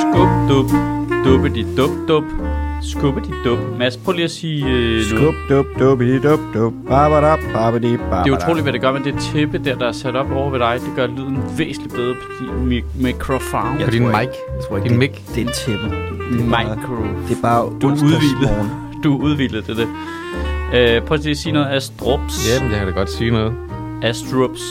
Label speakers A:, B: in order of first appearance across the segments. A: Skub, dub, duppe dit dub, dub. Skubbe dit dub. Mads, prøv lige at sige øh, noget.
B: Skub, dub, dub, dub, dub, babadab, babadib,
A: Det er utroligt, hvad det gør med det tæppe der, der er sat op over ved dig. Det gør lyden væsentligt bedre på din mi- mikrofon.
C: På din mic.
B: Jeg tror
C: Din mic.
B: det er en tæppe.
A: Micro.
B: Det er bare
A: Du er udhvilet.
B: onsdagsmorgen.
A: Du er udvildet, det er det. Øh, prøv lige at sige noget. Astrups.
C: Jamen, jeg kan da godt sige noget.
A: Astrups.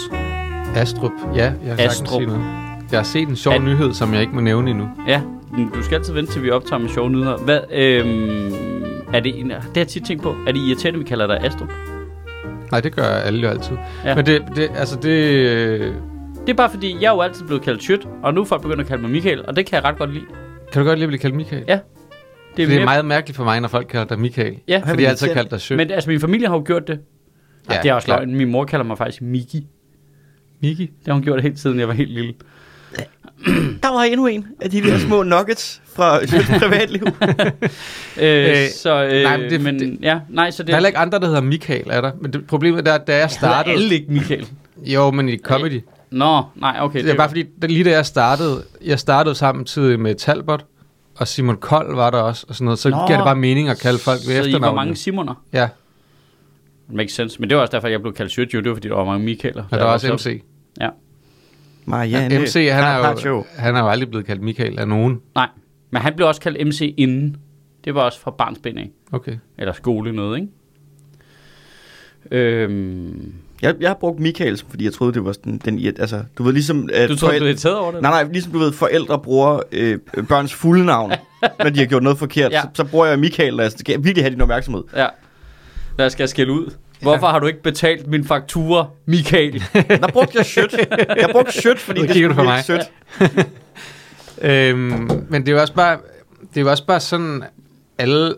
C: Astrup. Ja, jeg kan sagtens
A: Astrup.
C: sige noget. Jeg har set en sjov
A: At-
C: nyhed, som jeg ikke må nævne endnu.
A: Ja, men du skal altid vente, til vi optager med sjove nyheder. Hvad, øhm, er det, en, det har jeg tit tænkt på. Er det irriterende, vi kalder dig Astrup?
C: Nej, det gør alle jo altid.
A: Ja.
C: Ja. Men det, det, altså det... øh,
A: Det er bare fordi, jeg er jo altid blevet kaldt Sjøt, og nu er folk begyndt at kalde mig Michael, og det kan jeg ret godt lide.
C: Kan du godt lide at blive kaldt Michael?
A: Ja,
C: Det er, det
A: mere-
C: er meget mærkeligt for mig, når folk kalder dig Michael.
A: Ja.
C: Fordi jeg altid har kaldt dig Sø.
A: Men altså, min familie har jo gjort det. Ja, det er også
C: klart.
A: løgn. Min mor kalder mig faktisk Miki.
C: Miki.
A: Det har hun gjort helt siden jeg var helt lille.
D: Der var endnu en af de der små nuggets fra mit privatliv.
A: Øh, øh,
C: Øh,
A: så, øh, nej,
C: nej,
A: men, det,
C: men det-
A: men
C: det-
A: ja, nej, så
C: Der
A: det
C: er heller ikke andre, der hedder Michael, er der? Men det, problemet er, at da jeg
A: startede.
C: startede...
A: alle ikke Michael.
C: Jo, men i comedy.
A: Nå, nej, okay.
C: Det er bare fordi, da- lige da jeg startede, jeg startede samtidig med Talbot, og Simon Kold var der også, og sådan noget. Så
A: Nå,
C: Nå, giver det bare mening at kalde folk ved
A: så I
C: efternavn.
A: var mange Simoner.
C: Ja,
A: Makes sense. Men det var også derfor, jeg blev kaldt Sjøt, jo. Det var fordi, der var mange Michaeler.
C: og
A: da
C: der
A: jeg
C: var også
A: voksede
C: MC.
D: Marianne.
C: MC, han er,
D: Carpaccio.
C: jo, han er jo aldrig blevet kaldt Michael af nogen.
A: op. Nej, men han blev også kaldt MC inden. Det var også fra barnsben af.
C: Okay.
A: Eller skole noget, ikke? Øhm,
D: Jeg, jeg har brugt Michael, fordi jeg troede, det var sådan den... irrit- Altså, du ved ligesom... At
A: du troede, du blev irriteret over det?
D: Nej, nej, ligesom du ved, forældre bruger øh, børns fulde navn, når de har gjort noget forkert.
A: Ja.
D: Ja. Så, så, bruger jeg Michael, og jeg skal virkelig have din opmærksomhed.
A: Ja. Der skal jeg skælde ud. Hvorfor har du ikke betalt min faktura, Michael?
D: Der brugte jeg shit. Jeg brugte shit, fordi
C: Nu
D: det
C: kigger
D: skulle
C: du på
D: virke
C: mig.
D: sødt.
C: Øhm, men det er jo også bare, det er jo også bare sådan, alle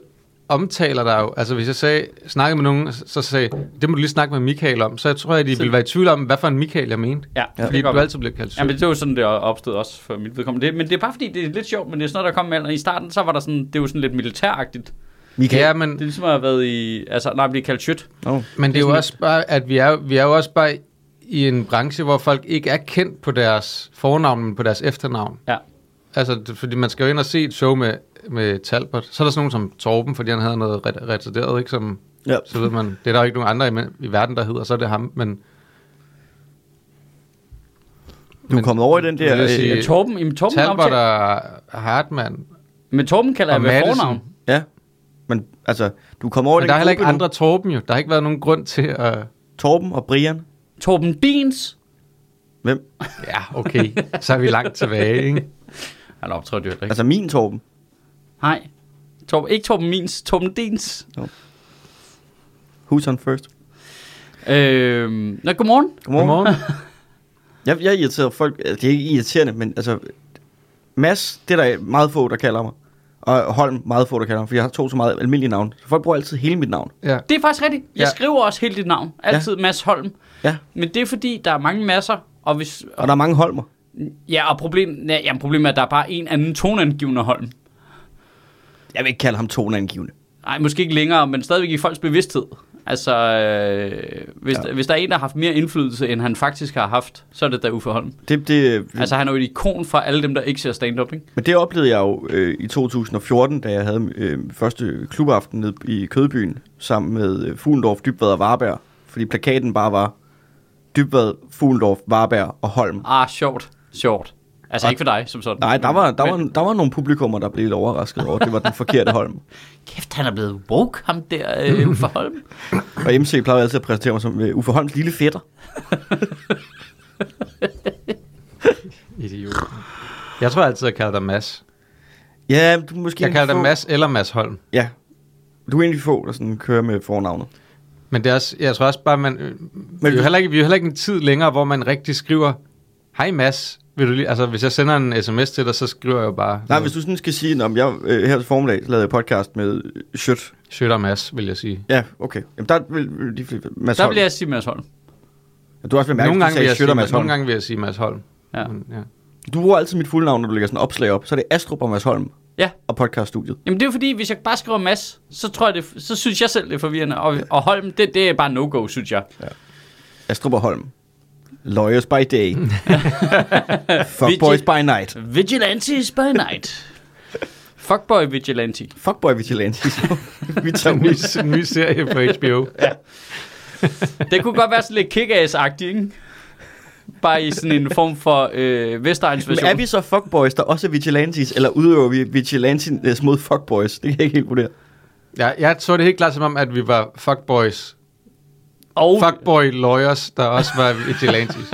C: omtaler der jo. Altså hvis jeg sagde, snakkede med nogen, så så sagde jeg, det må du lige snakke med Michael om. Så jeg tror, at de ville være i tvivl om, hvad for en Michael jeg mente.
A: ja,
C: Ja, fordi
A: det gør
C: du
A: man.
C: altid bliver kaldt sød.
A: Jamen, det var jo sådan, det opstod også for mit vedkommende. Det, men det er bare fordi, det er lidt sjovt, men det er sådan noget, der kom med alderen. I starten, så var der sådan, det er jo sådan lidt militæragtigt.
D: Michael.
C: Ja,
D: Ja.
C: men
A: Det er ligesom at have været i, altså, nej, blive kaldt shit.
D: No.
C: Men det er jo også bare, at vi er, vi er jo også bare i en branche, hvor folk ikke er kendt på deres fornavn, men på deres efternavn.
A: Ja.
C: Altså, det, fordi man skal jo ind og se et show med, med Talbot. Så er der sådan nogen som Torben, fordi han havde noget ret- retarderet, ikke? Som,
D: Ja.
C: Så ved man, det er der jo ikke nogen andre i, i verden, der hedder, så er det ham. Men
D: Du er kommet over i den
C: Vil
D: der...
C: jeg
D: Øh,
C: sige-
A: Men Torben, jamen, Torben,
C: Talbot
A: aftaler,
C: og Hartmann,
A: men Torben kalder jeg
C: og
A: ved
C: Madison.
A: fornavn.
D: ja. Men altså, du er kommet over i
C: men
D: den
C: der er heller ikke
D: gruppe nu.
C: andre Torben jo. Der har ikke været nogen grund til at...
D: Torben og Brian.
A: Torben Beans.
D: Hvem?
C: Ja, okay, så er vi langt tilbage, ikke?
A: Han optrådte jo heller ikke.
D: Altså min Torben.
A: Nej. Torben, ikke Torben Mins, Torben Dins.
D: Who's on first?
A: Øhm, nå, godmorgen.
D: Godmorgen. Jeg, jeg er irriteret folk. altså, Det er ikke irriterende, men altså... Mads, det er der meget få, der kalder mig. Og Holm, meget få, der kalder mig, for jeg har to så meget almindelige navn. Så folk bruger altid hele mit navn.
C: Ja.
A: Det er faktisk rigtigt. Jeg
C: Ja.
A: skriver også hele dit navn. Altid Mads Holm.
D: Ja.
A: Men det er fordi, der er mange masser, og hvis,
D: Og der er mange Holmer.
A: Ja, og problem, ja, jamen, problemet er, at der er bare en anden toneangivende Holm.
D: Jeg vil ikke kalde ham toneangivende.
A: Nej, måske ikke længere, men stadigvæk i folks bevidsthed. Altså, øh, hvis, ja. hvis der er en, der har haft mere indflydelse, end han faktisk har haft, så er det da Uffe Holm.
D: Det, det,
A: Altså, han er jo et ikon for alle dem, der ikke ser stand-up, ikke?
D: Men det oplevede jeg jo øh, i 2014, da jeg havde øh, første klubaften nede i Kødbyen, sammen med øh, Fuglendorf, Dybvad og Varberg. Fordi plakaten bare var Dybvad, Fuglendorf, Varberg og Holm.
A: Ah, sjovt. Sjovt. Altså,
D: Og-
A: ikke for dig, som sådan.
D: Nej, der var, der, var,
A: Men,
D: der var nogle publikummer, der blev lidt overrasket over, at det var den forkerte Holm.
A: kæft, han er blevet woke, ham der øh, Uffe Holm.
D: Og MC plejede altid at præsentere mig som øh, Uffe Holms lille fætter.
C: Idiot. Jeg tror altid, jeg kalder dig Mads.
D: Ja, du er måske
C: Jeg
D: en af de
C: kalder dig
D: få-
C: Mads eller Mads Holm.
D: Ja, du er egentlig få, der sådan kører med fornavnet.
C: Men det er også, jeg tror også bare, man, men vi, er jo
D: du-
C: heller ikke, vi er jo heller ikke en tid længere, hvor man rigtig skriver, hej Mads, Vil du lige, altså, hvis jeg sender en sms til dig, så skriver jeg jo bare...
D: Nej, hvis du sådan skal sige, om jeg øh, her til formiddag lavede jeg podcast med øh, Shit.
C: Shit og mas, vil jeg sige.
D: Ja, okay. Jamen, der vil, vil de fleste... Mads
A: Der
D: Holm.
A: bliver jeg sige Mads Holm.
D: Ja, Du har også været
C: Nogle
D: mærkeligt, at du
C: gange, vil
D: sagde
C: jeg
D: Shit
C: sige,
D: og Mads Holm.
C: nogle gange vil jeg sige Mads Holm.
A: Ja.
C: Men, ja.
D: Du bruger altid mit fulde navn, når du lægger sådan en opslag op. Så er det Astrup og Mads Holm
A: Ja.
D: og podcaststudiet.
A: Jamen det er jo fordi, hvis jeg bare skriver Mads, så, tror jeg det, så synes jeg selv, det er forvirrende. Og, og Holm, det, det er bare no-go, synes jeg.
D: Astrup og Holm. Lawyers by day. Fuckboys by night.
A: Vigilantes by night. Fuckboy vigilante.
D: Fuckboy vigilante. Vi tager
C: Ny,
D: ud.
C: ny serie på HBO.
A: Det kunne godt være sådan lidt kick-ass-agtigt, ikke? Bare i sådan en form for øh, Vestegns
D: Men
A: version.
D: er vi så fuckboys, der også er vigilantes, eller udøver vi vigilantes mod fuckboys? Det kan jeg ikke helt vurdere.
C: Jeg, jeg så det helt klart som om, at vi var fuckboys.
A: Og
C: Fuckboy lawyers, der også var vigilantes.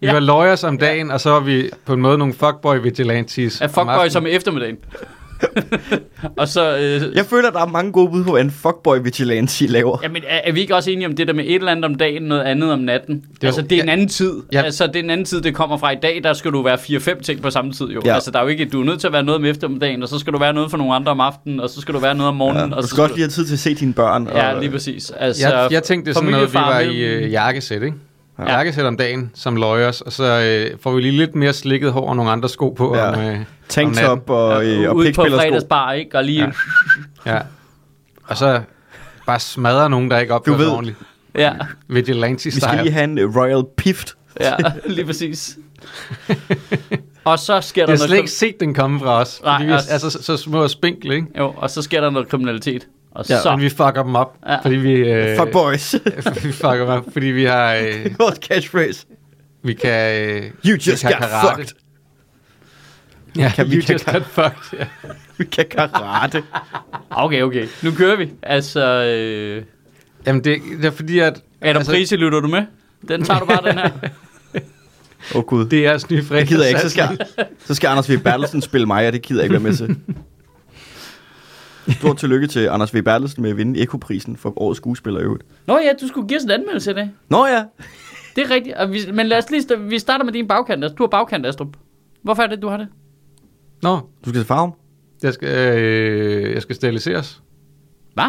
C: Vi var lawyers om dagen, og så var vi på en måde nogle fuckboy vigilantes.
A: er
C: om
A: fuckboy
C: aftenen.
A: som i eftermiddagen. og så... Øh,
D: Jeg føler, der er mange gode bud på, hvad en fuckboy vigilante laver.
A: Jamen, er, er vi ikke også enige om det der med et eller andet om dagen, noget andet om natten? Det altså, det er en anden tid. Ja.
C: Ja.
A: Altså, det er en anden tid, det kommer fra i dag. Der skal du være 4-5 ting på samme tid, jo. Ja.
D: Ja.
A: Altså, der er jo ikke, du er nødt til at være noget om eftermiddagen, og så skal du være noget for nogle andre om aftenen, og så skal du være noget om morgenen.
D: Ja,
A: og
D: du
A: så
D: skal godt lige have tid til at se dine børn.
A: Ja,
D: og, øh,
A: lige præcis. Altså,
C: Jeg, jeg tænkte det er sådan noget, vi var
A: familiefar
C: i
A: mellem-
C: øh, jakkesæt, ikke? Ja. Jakkesæt om dagen, som lawyers, og så øh, får vi lige lidt mere slikket hår og nogle andre sko på.
D: Ja.
C: Ja. Om, øh, om
D: Tanktop og, øh, og
A: ude på
D: pikspillersko.
A: fredagsbar, ikke? Og lige... Ja.
C: Ja. Ja. Og så bare smadrer nogen, der ikke opfører
D: Du ved.
C: sig ordentligt.
A: ja.
D: Vi skal
C: Vigilante-style.
D: lige have en øh, royal pift.
A: Ja, lige præcis. og så sker der
C: Jeg har
A: noget...
C: slet ikke set den komme fra os.
A: Nej,
C: Nej, fordi vi er
A: også-
C: altså, så, så små og spinkle, ikke?
A: krim- Jo, og så sker der noget kriminalitet. Og
D: Ja,
A: så...
C: Men vi fucker dem op,
A: Ja.
C: ja. fordi vi... Øh,
D: Fuckboys.
C: vi fucker dem op, fordi vi har... Øh,
D: Vores catchphrase.
C: vi kan... Øh,
D: You
C: vi
D: just
C: kan
D: got
C: karate.
D: fucked.
C: Ja,
D: Kan
C: kan
D: vi-
C: vi you
D: kan
C: just got fucked. Ja.
D: Vi kan karate.
A: Ah, Okay, okay. Nu kører vi. Altså... Øh...
C: Jamen, det, det er fordi, at...
A: Adam altså, Prise, lytter du med? Den tager du bare, den her.
D: Åh oh, gud. Det,
C: Det er jeres nye fredag.
D: det gider jeg ikke. Så skal, så skal Anders V. Bertelsen spille mig, og det gider jeg ikke være med til. Stort tillykke til Anders V. Bertelsen med at vinde Ekoprisen for årets skuespiller i øvrigt.
A: Nå ja, du skulle give os en anmeldelse i dag.
D: Nå ja,
A: Det er rigtigt. Og vi, men lad os lige, sta- vi starter med din bagkant. Altså, Du har bagkant, Astrup. Hvorfor er det, du har det?
C: Nå,
D: du skal til farven.
C: jeg skal, øh, jeg skal steriliseres.
A: Hvad?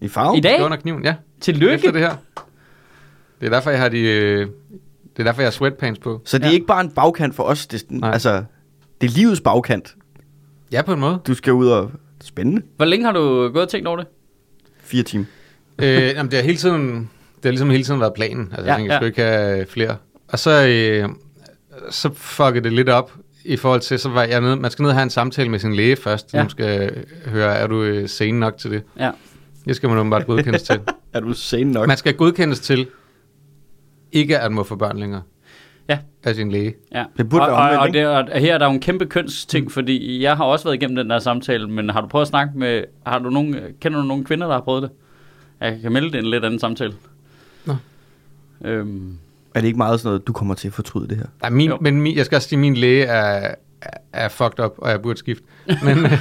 D: I farven?
A: I dag?
C: Det er under kniven, ja.
A: Tillykke.
C: Efter det her. Det er derfor, jeg har de... Øh, det er derfor, jeg har sweatpants på.
D: Så det er
A: Ja.
D: ja. ikke bare en bagkant for os. Det er, sådan,
C: Nej.
D: altså, det er livets bagkant.
C: Ja, på en måde.
D: Du skal ud og... Spændende.
A: Hvor længe har du gået og tænkt over det?
D: Fire timer.
C: øh, jamen, det har hele tiden, det har ligesom hele tiden været planen. Altså, ja,
A: Ja,
C: jeg tænker,
A: ja.
C: jeg skulle ikke have øh, flere. Og så, øh, så fuckede det lidt op i forhold til, så var jeg nede, man skal ned og have en samtale med sin læge først,
A: Ja.
C: ja. som skal høre, er du øh, sen nok til det?
A: Ja.
C: Det skal man åbenbart godkendes til.
D: Er du sen nok?
C: Man skal godkendes til ikke at må få børn længere
A: Ja.
C: af sin læge.
A: Ja.
D: Det burde
A: og,
D: være
A: og,
D: omvendt,
A: og,
D: ikke?
A: det, og her er der jo en kæmpe kønsting, fordi jeg har også været igennem den der samtale, men har du prøvet at snakke med, har du nogen, kender du nogen kvinder, der har prøvet det? Jeg kan melde det i en lidt anden samtale.
C: Nå.
A: Øhm,
D: Er det ikke meget sådan noget, du kommer til at fortryde det her?
C: Nej, min,
A: Jo.
C: men min, jeg skal også sige, at min læge er, er- er fucked up, og jeg burde skifte. Men, øh,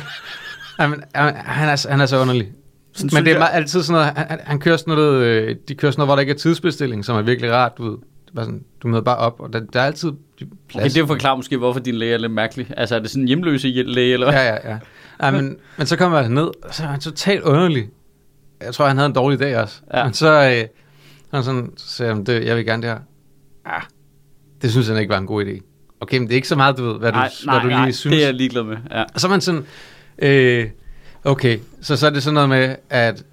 C: ej, men han, han, er, så- han er så underlig.
D: Sådan
C: Sådan,
D: synes
C: men det er
D: jeg-
C: meget, altid sådan noget, han- han, han kører sådan noget, øh, de kører sådan noget, hvor der ikke er tidsbestilling, som er virkelig rart, du ved. Det er bare sådan, du møder bare op, og der, der er altid de-
A: okay,
C: plads.
A: det forklarer måske, hvorfor din læge er lidt mærkelig. Altså, er det sådan en hjemløse læge, eller hvad?
C: Ja, ja, ja. Ej, men, men så kommer han ned, og så er han totalt underlig. Jeg tror, han havde en dårlig dag også.
A: Ja.
C: Ja. Men så, øh, han sådan, så sagde han, det, jeg vil gerne det her. Ah, det synes han ikke var en god idé. Okay, men det er ikke så meget, du ved, hvad
A: nej,
C: du,
A: nej,
C: hvad du lige
A: nej,
C: synes.
A: det er jeg ligeglad med. Ja.
C: Og så er man sådan, øh, okay, så, så er det sådan noget med, at,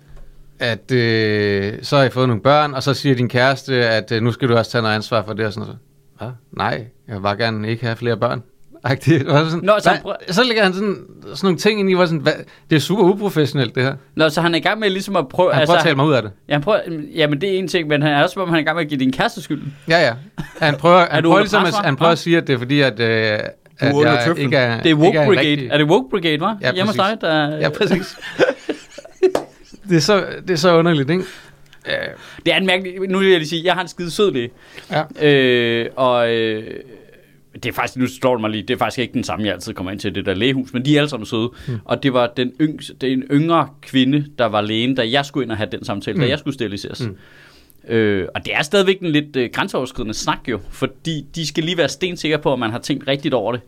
C: at øh, så har I fået nogle børn, og så siger din kæreste, at øh, nu skal du også tage noget ansvar for det, og sådan noget. Hvad? Nej, jeg vil bare gerne ikke have flere børn. Agtigt. Og så Sådan,
A: Nå,
C: Nå,
A: så
C: så,
A: han
C: nej, så lægger han sådan, sådan nogle ting ind i, hvor sådan, hvad, det er super uprofessionelt det her. Han
A: Nå, så han er i gang med ligesom at prøve...
C: prøver at tale mig ud af det.
A: Ja, han prøver, jamen, det er en ting, men han er også, som om han er i gang med at give din kæreste skylden.
C: Ja, ja. Han prøver, han
A: du
C: prøver,
A: under
C: ligesom
A: pres,
C: at,
A: hva'?
C: han prøver at sige, at det er fordi, at, øh, at
D: under
C: jeg
D: tøflen.
C: ikke er,
A: Det er
C: ikke
A: Woke
C: er en
A: Brigade.
C: rigtig-
A: Er det Woke Brigade, var?
C: Ja,
A: Hjemme hos dig,
C: præcis.
A: der...
C: Ja, præcis. det, er så, det er så underligt, ikke? Øh,
A: Det er en mærkelig... Nu vil jeg lige sige, jeg har en skide sød læge.
C: Ja.
A: Øh, og... Øh, det er faktisk, nu står det mig lige, det er faktisk ikke den samme, jeg altid kommer ind til, det der lægehus, men de er alle sammen søde. Mm. Og det var den yngste, det er en yngre kvinde, der var lægen, da jeg skulle ind og have den samtale, mm. da jeg skulle steriliseres. Mm. Øh, og det er stadigvæk en lidt øh, grænseoverskridende snak jo, fordi de skal lige være stensikre på, at man har tænkt rigtigt over det.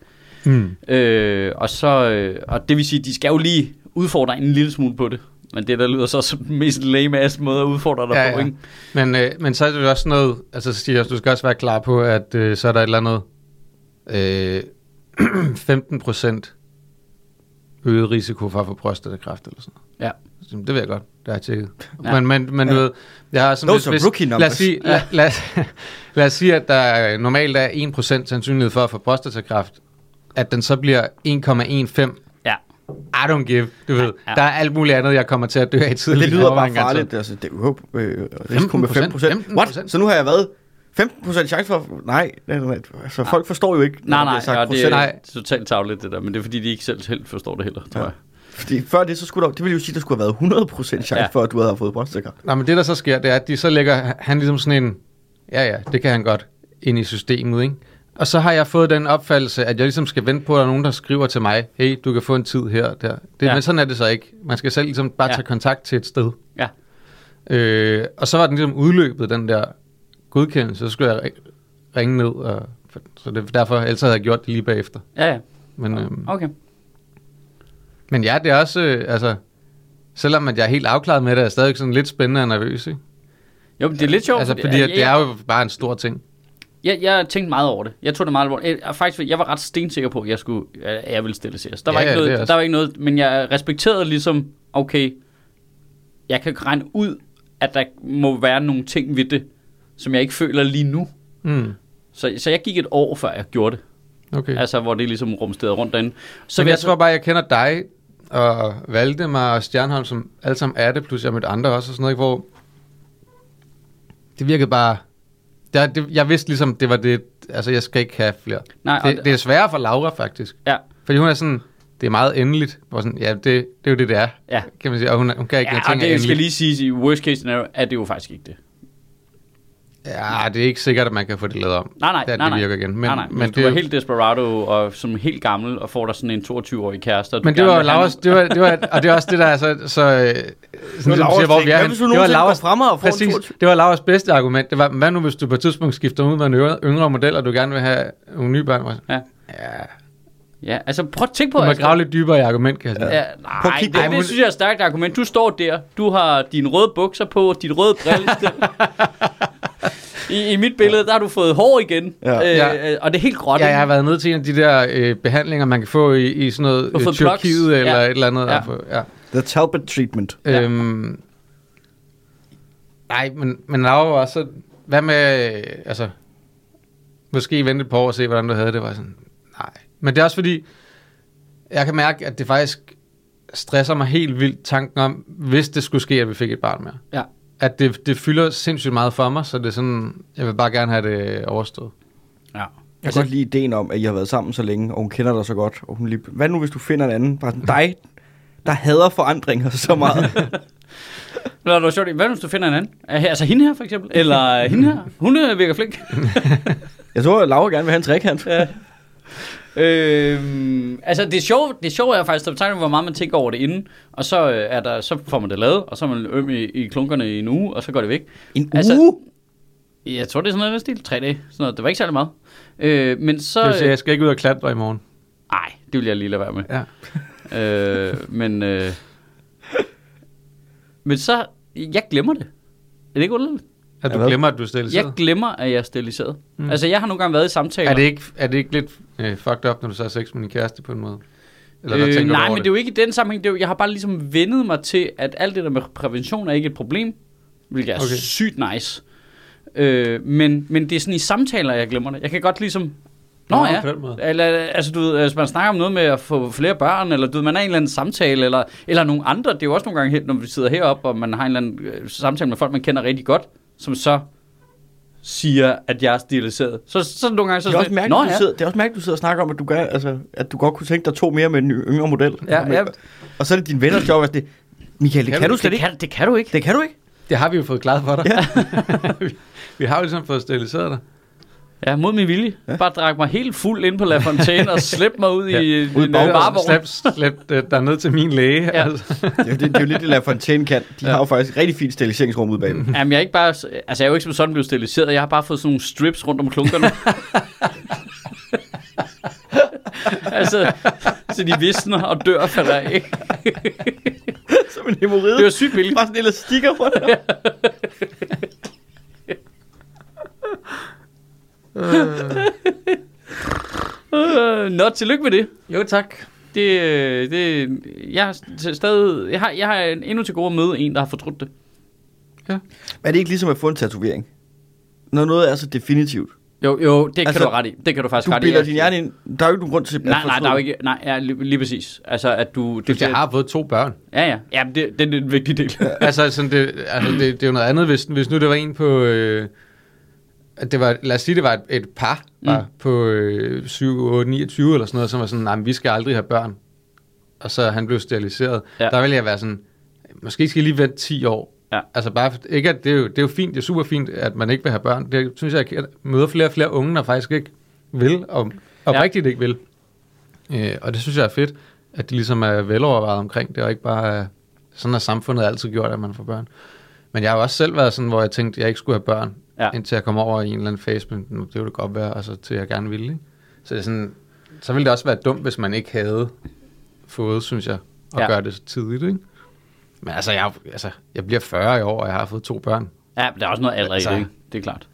C: Mm.
A: Øh, og, så, øh, og det vil sige, at de skal jo lige udfordre en lille smule på det. Men det der lyder så som den mest lame ass måde at udfordre dig
C: Ja,
A: på,
C: ja.
A: ikke?
C: Men, øh, men så er det jo også noget, altså så siger jeg også, du skal også være klar på, at øh, så er der et eller andet øh, 15 procent øget risiko for at få prostatakræft eller sådan noget.
A: Ja.
C: Så Det ved jeg godt, det har jeg tjekket.
A: Ja.
C: Ja. Men, men, men ja. du ved, jeg har sådan
D: Those are rookie
C: lad,
D: numbers.
C: os sige, lad, lad, os- lad os sige, at der normalt er 1% sandsynlighed for at få prostatakræft, at den så bliver 1,15.
A: Ja.
C: I don't give, du ved.
A: ja.
C: Ja. Der er alt muligt andet, jeg kommer til at dø af tidligere.
D: Det lyder bare
C: Mange gange.
D: farligt. Altså, det er jo øh, risiko med 5
C: 15%.
D: What? Så nu har jeg været 15 chance for... Nej, altså, folk forstår jo ikke, når
A: Ah. Nej,
D: der bliver
A: nej,
D: sagt
A: og det
D: procent.
A: er
C: Nej.
A: totalt tavligt det der, men det er fordi, de ikke selv helt forstår det heller, tror
D: Ja.
A: jeg.
D: Fordi før det, så skulle der, det ville jo sige, at der skulle have været 100% chance
A: Ja.
D: ja. for, at du havde fået brystsækker.
C: Nå, men det der så sker, det er, at de så lægger han ligesom sådan en, ja ja, det kan han godt, ind i systemet, ikke? Og så har jeg fået den opfattelse, at jeg ligesom skal vente på, at der er nogen, der skriver til mig, hey, du kan få en tid her og der. Det,
A: Ja.
C: ja. Men sådan er det så ikke. Man skal selv ligesom bare
A: Ja.
C: ja. tage kontakt til et sted.
A: Ja.
C: Øh, og så var den ligesom udløbet, den der godkendelse, så skulle jeg ri- ringe ned, og, så det, derfor, ellers havde jeg gjort det lige bagefter.
A: Ja, ja.
C: Men, øhm,
A: Okay.
C: men ja, det er også, øh, altså, selvom at jeg er helt afklaret med det, er jeg stadig sådan lidt spændende og nervøs, ikke?
A: Jo, men det er lidt sjovt.
C: Altså, fordi
A: jeg,
C: at det er jo bare en stor ting.
A: jeg, jeg tænkte meget over det. Jeg tog det meget alvorligt. Jeg, jeg, faktisk, jeg var ret stensikker på, at jeg, skulle, at jeg ville stille seriøst. Der, var
C: Ja,
A: ikke
C: ja, det er
A: noget,
C: også-
A: der var ikke noget, men jeg respekterede ligesom, okay, jeg kan regne ud, at der må være nogle ting ved det, som jeg ikke føler lige nu.
C: Mm.
A: Så, så jeg gik et år, før jeg gjorde det.
C: Okay. Altså,
A: Altså, hvor det ligesom rumsterede rundt derinde.
C: så
A: Så
C: jeg,
A: vil
C: jeg
A: jeg
C: tror bare, jeg kender dig og Valdemar og Stjernholm, som alle sammen er det, plus jeg mødte andre også og sådan noget, ikke? hvor det virkede bare... Der, det, jeg vidste ligesom, det var det... Altså, jeg skal ikke have flere.
A: Nej, og det-
C: det, det er sværere for Laura, faktisk.
A: Ja.
C: Fordi hun er sådan... Det er meget endeligt. Hvor sådan, ja, det, det er jo det, det er.
A: Ja.
C: Kan man sige. Og hun, hun kan ikke lade
A: Ja, og
C: ting er
A: det skal
C: endeligt.
A: lige sige, i worst case scenario, at det er jo faktisk ikke det.
C: Ja, det er ikke sikkert, at man kan få det lavet om.
A: Nej, nej,
C: det,
A: nej,
C: det
A: nej.
C: virker igen. Men,
A: nej, nej.
C: men
A: Hvis
C: det,
A: du
C: er
A: er
C: jo-
A: helt desperado og som helt gammel og får dig sådan en 22-årig kæreste. og du
C: Men det
A: gerne
C: var jo
A: vil have noget-
C: Lauras, det var, det var, og det er også det, der er så, så øh, sådan, som
D: Lauras
C: siger, hvor
D: ting.
C: vi er
D: Hvad
C: henne.
D: hvis du
C: Det var
D: nogensinde går
C: Lauras,
D: fremme og får en
C: præcis,
D: 22?
C: det var Lauras bedste argument. Det var, hvad nu hvis du på et tidspunkt skifter ud med en yngre- yngre model, og du gerne vil have nogle nye børn? Hvor jeg sådan,
A: Ja.
C: Ja,
A: Ja, altså prøv at tænke på...
C: du må
A: Astrid.
C: grave lidt dybere i argumentkastet. Ja.
A: Ja,
D: Prøv at
A: nej,
D: kigge
A: det,
D: på ham.
A: det, synes jeg er et stærkt argument. Du står der, du har dine røde bukser på, dit røde brillestil. I, I mit billede, der har du fået hår igen,
D: Ja.
A: Øh,
C: Ja.
A: øh, og det er helt gråt.
C: Ja,
A: ikke?
C: jeg har været nede til en af de der øh, behandlinger, man kan få i, i sådan noget
A: Du har
C: øh,
A: fået plugs.
C: Tyrkiet eller
A: Ja.
C: et eller andet.
A: Ja.
C: og få- Ja.
D: The Talbot treatment.
A: Ja.
C: Ja. Øhm, nej, men, men Laura var så... Hvad med... øh, Altså, måske vente et par år og se, hvordan du havde det. Var jeg sådan, nej. Men det er også fordi, jeg kan mærke, at det faktisk stresser mig helt vildt tanken om, hvis det skulle ske, at vi fik et barn mere.
A: Ja.
C: At det, det fylder sindssygt meget for mig, så det er sådan, jeg vil bare gerne have det overstået.
A: Ja.
D: Jeg kan
A: Altså-
D: godt lide ideen om, at I har været sammen så længe, og hun kender dig så godt. Og hun lige, hvad nu, hvis du finder en anden? Bare sådan, dig, der hader forandringer så meget.
A: Nå, det var sjovt. Hvad hvis du finder en anden? Ah, Altså hende her, for eksempel? Eller hende her? Hun øh, virker flink.
D: jeg tror, at Laura gerne vil have en trekant.
A: Ja. øhm, altså det sjove, det sjove er faktisk, at betegner, hvor meget man tænker over det inden, og så, øh, er der, så får man det lavet, og så er man øm i, i klunkerne i en uge, og så går det væk.
D: En uge?
A: Altså-
D: Altså,
A: Jeg tror, det er sådan noget i den stil. Tre dage. Sådan noget. Det var ikke særlig meget. Øh, men så...
C: Det vil sige, jeg skal ikke ud og klatre i morgen.
A: Nej, det vil jeg lige lade være med.
C: Ja.
A: øh, men, øh, men så, jeg glemmer det. Er det ikke underligt?
C: At du
D: hvad?
C: glemmer, at du er stillet.
A: Jeg glemmer, at jeg er steriliseret. Mm. Altså, jeg har nogle gange været i samtaler.
C: Er det ikke, er det ikke lidt øh, fucked up, når du så har sex med din kæreste på en måde? Eller øh,
A: øh,
C: tænker
A: nej,
C: du over
A: men det
C: det?
A: er jo ikke i den sammenhæng. Det er jo, jeg har bare ligesom vendet mig til, at alt det der med prævention er ikke et problem, hvilket er okay.
C: Okay.
A: sygt nice. Øh, men, men det er sådan i samtaler, jeg glemmer det. Jeg kan godt ligesom... Nå
C: Nå,
A: ja,
C: på den måde.
A: eller, altså du ved, hvis man snakker om noget med at få flere børn, eller du ved, man er i en eller anden samtale, eller, eller nogle andre, det er jo også nogle gange helt, når vi sidder heroppe, og man har en eller anden øh, samtale med folk, man kender rigtig godt, som så siger, at jeg er stiliseret. Så, så nogle gange så...
D: det, er også
A: sådan,
D: mærkeligt,
A: "Nå
D: du sidder, det er også mærkeligt, du sidder og snakker om, at du, gør, altså, at du godt kunne tænke dig to mere med en ny- yngre model.
A: Ja,
D: Og
A: ja.
D: Og så er det din venners job, at det, Michael, det kan, du slet
A: det
D: ikke.
A: kan, det kan du ikke.
D: Det kan du ikke.
C: Det har vi jo fået klaret for dig. Ja. vi har jo ligesom fået steriliseret dig.
A: Ja, mod min vilje. Ja. Bare drak mig helt fuld ind på La Fontaine og slæb mig ud ja. i,
C: Ud i
A: en
C: baggården,
A: varevogn.
C: slap, slap øh, derned til min læge.
A: Ja.
C: Ja. Altså.
D: Det, er jo- det, det er jo lidt det, La Fontaine kan. De ja. har jo faktisk et rigtig fint steriliseringsrum ude bagved.
A: Jamen, jeg er ikke bare... Altså, jeg er jo ikke som sådan blevet steriliseret. Jeg har bare fået sådan nogle strips rundt om klunkerne. altså, så de visner og dør for dig, ikke?
D: Som en hemorride.
A: Det var sygt billigt.
D: Bare sådan en elastikker på dig.
A: Øh, nå, tillykke med det.
C: Jo, tak.
A: Det, øh, det, jeg, har st- stadig, jeg, har, jeg har endnu til gode at møde en, der har fortrudt det.
D: Men er det ikke ligesom at få en tatovering? Når noget er så definitivt.
A: Jo, jo, det altså, kan
D: Altså,
A: du have ret i. Det kan du faktisk
D: Du
A: ret i.
D: bilder
A: at-
D: din hjerne ind. Der er jo ikke nogen grund til at
A: Nej, nej,
D: fortryde.
A: der er jo ikke, nej, ja, lige, lige præcis. Altså, at du... Det,
C: Du, jeg har fået to børn.
A: Ja, ja. ja men det, det er den vigtige del.
C: altså, sådan det, altså det, det er jo noget andet, hvis, hvis nu det var en på... Øh, at det var, lad os sige, det var et, et par
A: Mm.
C: var på øh, 7, 8, 29 eller sådan noget, som var sådan, nej, men vi skal aldrig have børn. Og så han blev steriliseret.
A: Ja.
C: Ja. Der ville jeg være sådan, måske skal I lige vente 10 år.
A: Ja.
C: Altså bare, for- ikke at det, er jo, det er jo fint, det er super fint, at man ikke vil have børn. Det synes jeg, jeg møder flere og flere unge, der faktisk ikke vil, og, og
A: Ja.
C: ja. rigtigt ikke vil. Øh, og det synes jeg er fedt, at de ligesom er velovervejet omkring det, og ikke bare er- sådan har samfundet altid gjort, at man får børn. Men jeg har jo også selv været sådan, hvor jeg tænkte, at jeg ikke skulle have børn,
A: Ja.
C: ja. indtil jeg kom over i en eller anden fase, men nu, det ville det godt være, og så til jeg gerne ville. Ikke? Så, det er sådan, så ville det også være dumt, hvis man ikke havde fået, synes jeg, at
A: Ja.
C: ja. gøre det så tidligt. Ikke? Men altså jeg, altså, jeg bliver 40 i år, og jeg har fået to børn.
A: ja, men der er også noget alder i
C: Altså-
A: det, ikke? Det er klart.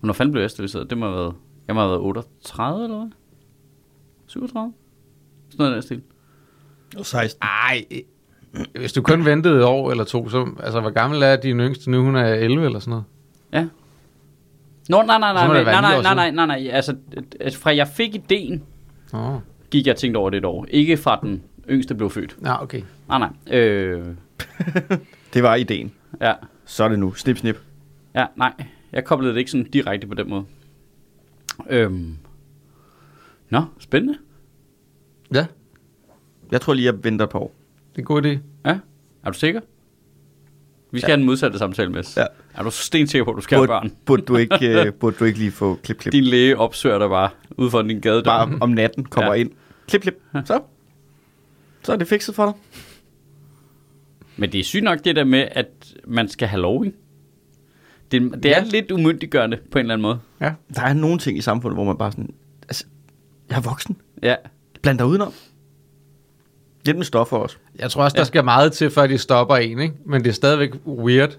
A: Hvornår fanden blev jeg steriliseret? Det må have været... Jeg må have været 38, eller hvad? 37? Sådan noget i den stil.
D: Og 16.
A: Ah.
C: Ej, hvis du kun ventede et år eller to, så, altså hvor gammel er din yngste nu? Hun er 11 eller sådan noget.
A: Ja. Nå, nej, nej,
C: Så må
A: nej, nej,
C: det være
A: nej,
C: ni
A: nej,
C: år
A: nej, nej, nej, nej, altså, altså fra jeg fik ideen,
C: Åh,
A: gik jeg og tænkte over det et år. Ikke fra den yngste blev født.
C: ja, okay.
A: Nej, nej. Øh,
D: Det var ideen.
A: ja,
D: Så er det nu. Snip, snip.
A: ja, nej. Jeg koblede det ikke sådan direkte på den måde. Øhm. Nå, spændende.
C: Ja,
D: Jeg tror lige, jeg venter på år.
C: det er en god idé.
A: Ja, er du sikker? Vi skal ja. have den modsatte samtale med.
D: Ja.
A: Er du stensikker på, at du skal have børn?
D: burde, du ikke, øh, burde du ikke lige få klip, klip?
A: Din læge opsøger dig bare ude for din gadedør.
D: Bare om natten kommer
A: Ja.
D: ja. ind. Klip, klip. Så. Så er det fikset for dig.
A: Men det er sygt nok det der med, at man skal have lov, ikke? Det, det er
C: Ja.
A: lidt umyndiggørende på en eller anden måde.
C: Ja.
D: Der er nogle ting i samfundet, hvor man bare sådan... Altså, jeg er voksen.
A: Ja,
D: Bland dig udenom. Hjælp med stoffer også.
C: Jeg tror også, der skal meget til, før de stopper en, ikke? Men det er stadigvæk weird.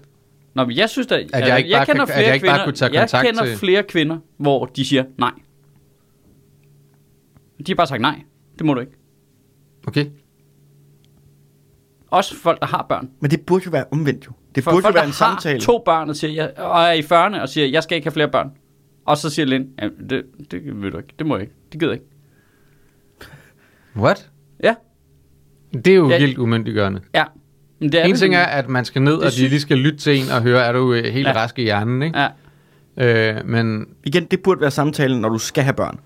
A: Nå, men jeg synes da, at
C: jeg ikke bare
A: kender
C: kan- at
A: flere
C: jeg ikke bare
A: kvinder,
C: kunne tage
A: jeg
C: kontakt
A: kender
C: til-
A: flere kvinder, hvor de siger nej. De har bare sagt nej. Det må du ikke.
C: Okay.
A: Også folk, der har børn.
D: Men det burde jo være omvendt jo. Det
A: For
D: burde jo
A: folk,
D: være en
A: der har
D: samtale.
A: to børn og, siger, jeg, og er i 40'erne og siger, jeg skal ikke have flere børn. Og så siger Lind, "Jamen, det, det vil du ikke. Det må jeg ikke. Det gider jeg ikke.
C: What?
A: Ja,
C: Det er jo
A: Ja.
C: ja. vildt umyndiggørende.
A: ja. Men det
C: Ja, en
A: det
C: ting er,
A: simpelthen.
C: at man skal ned,
A: Det er
C: og de
A: sygt.
C: lige skal lytte til en og høre, er du øh, helt
A: Ja.
C: ja. rask i hjernen, ikke?
A: Ja.
C: Ja. Øh, men
D: Igen, det burde være samtalen, når du skal have børn.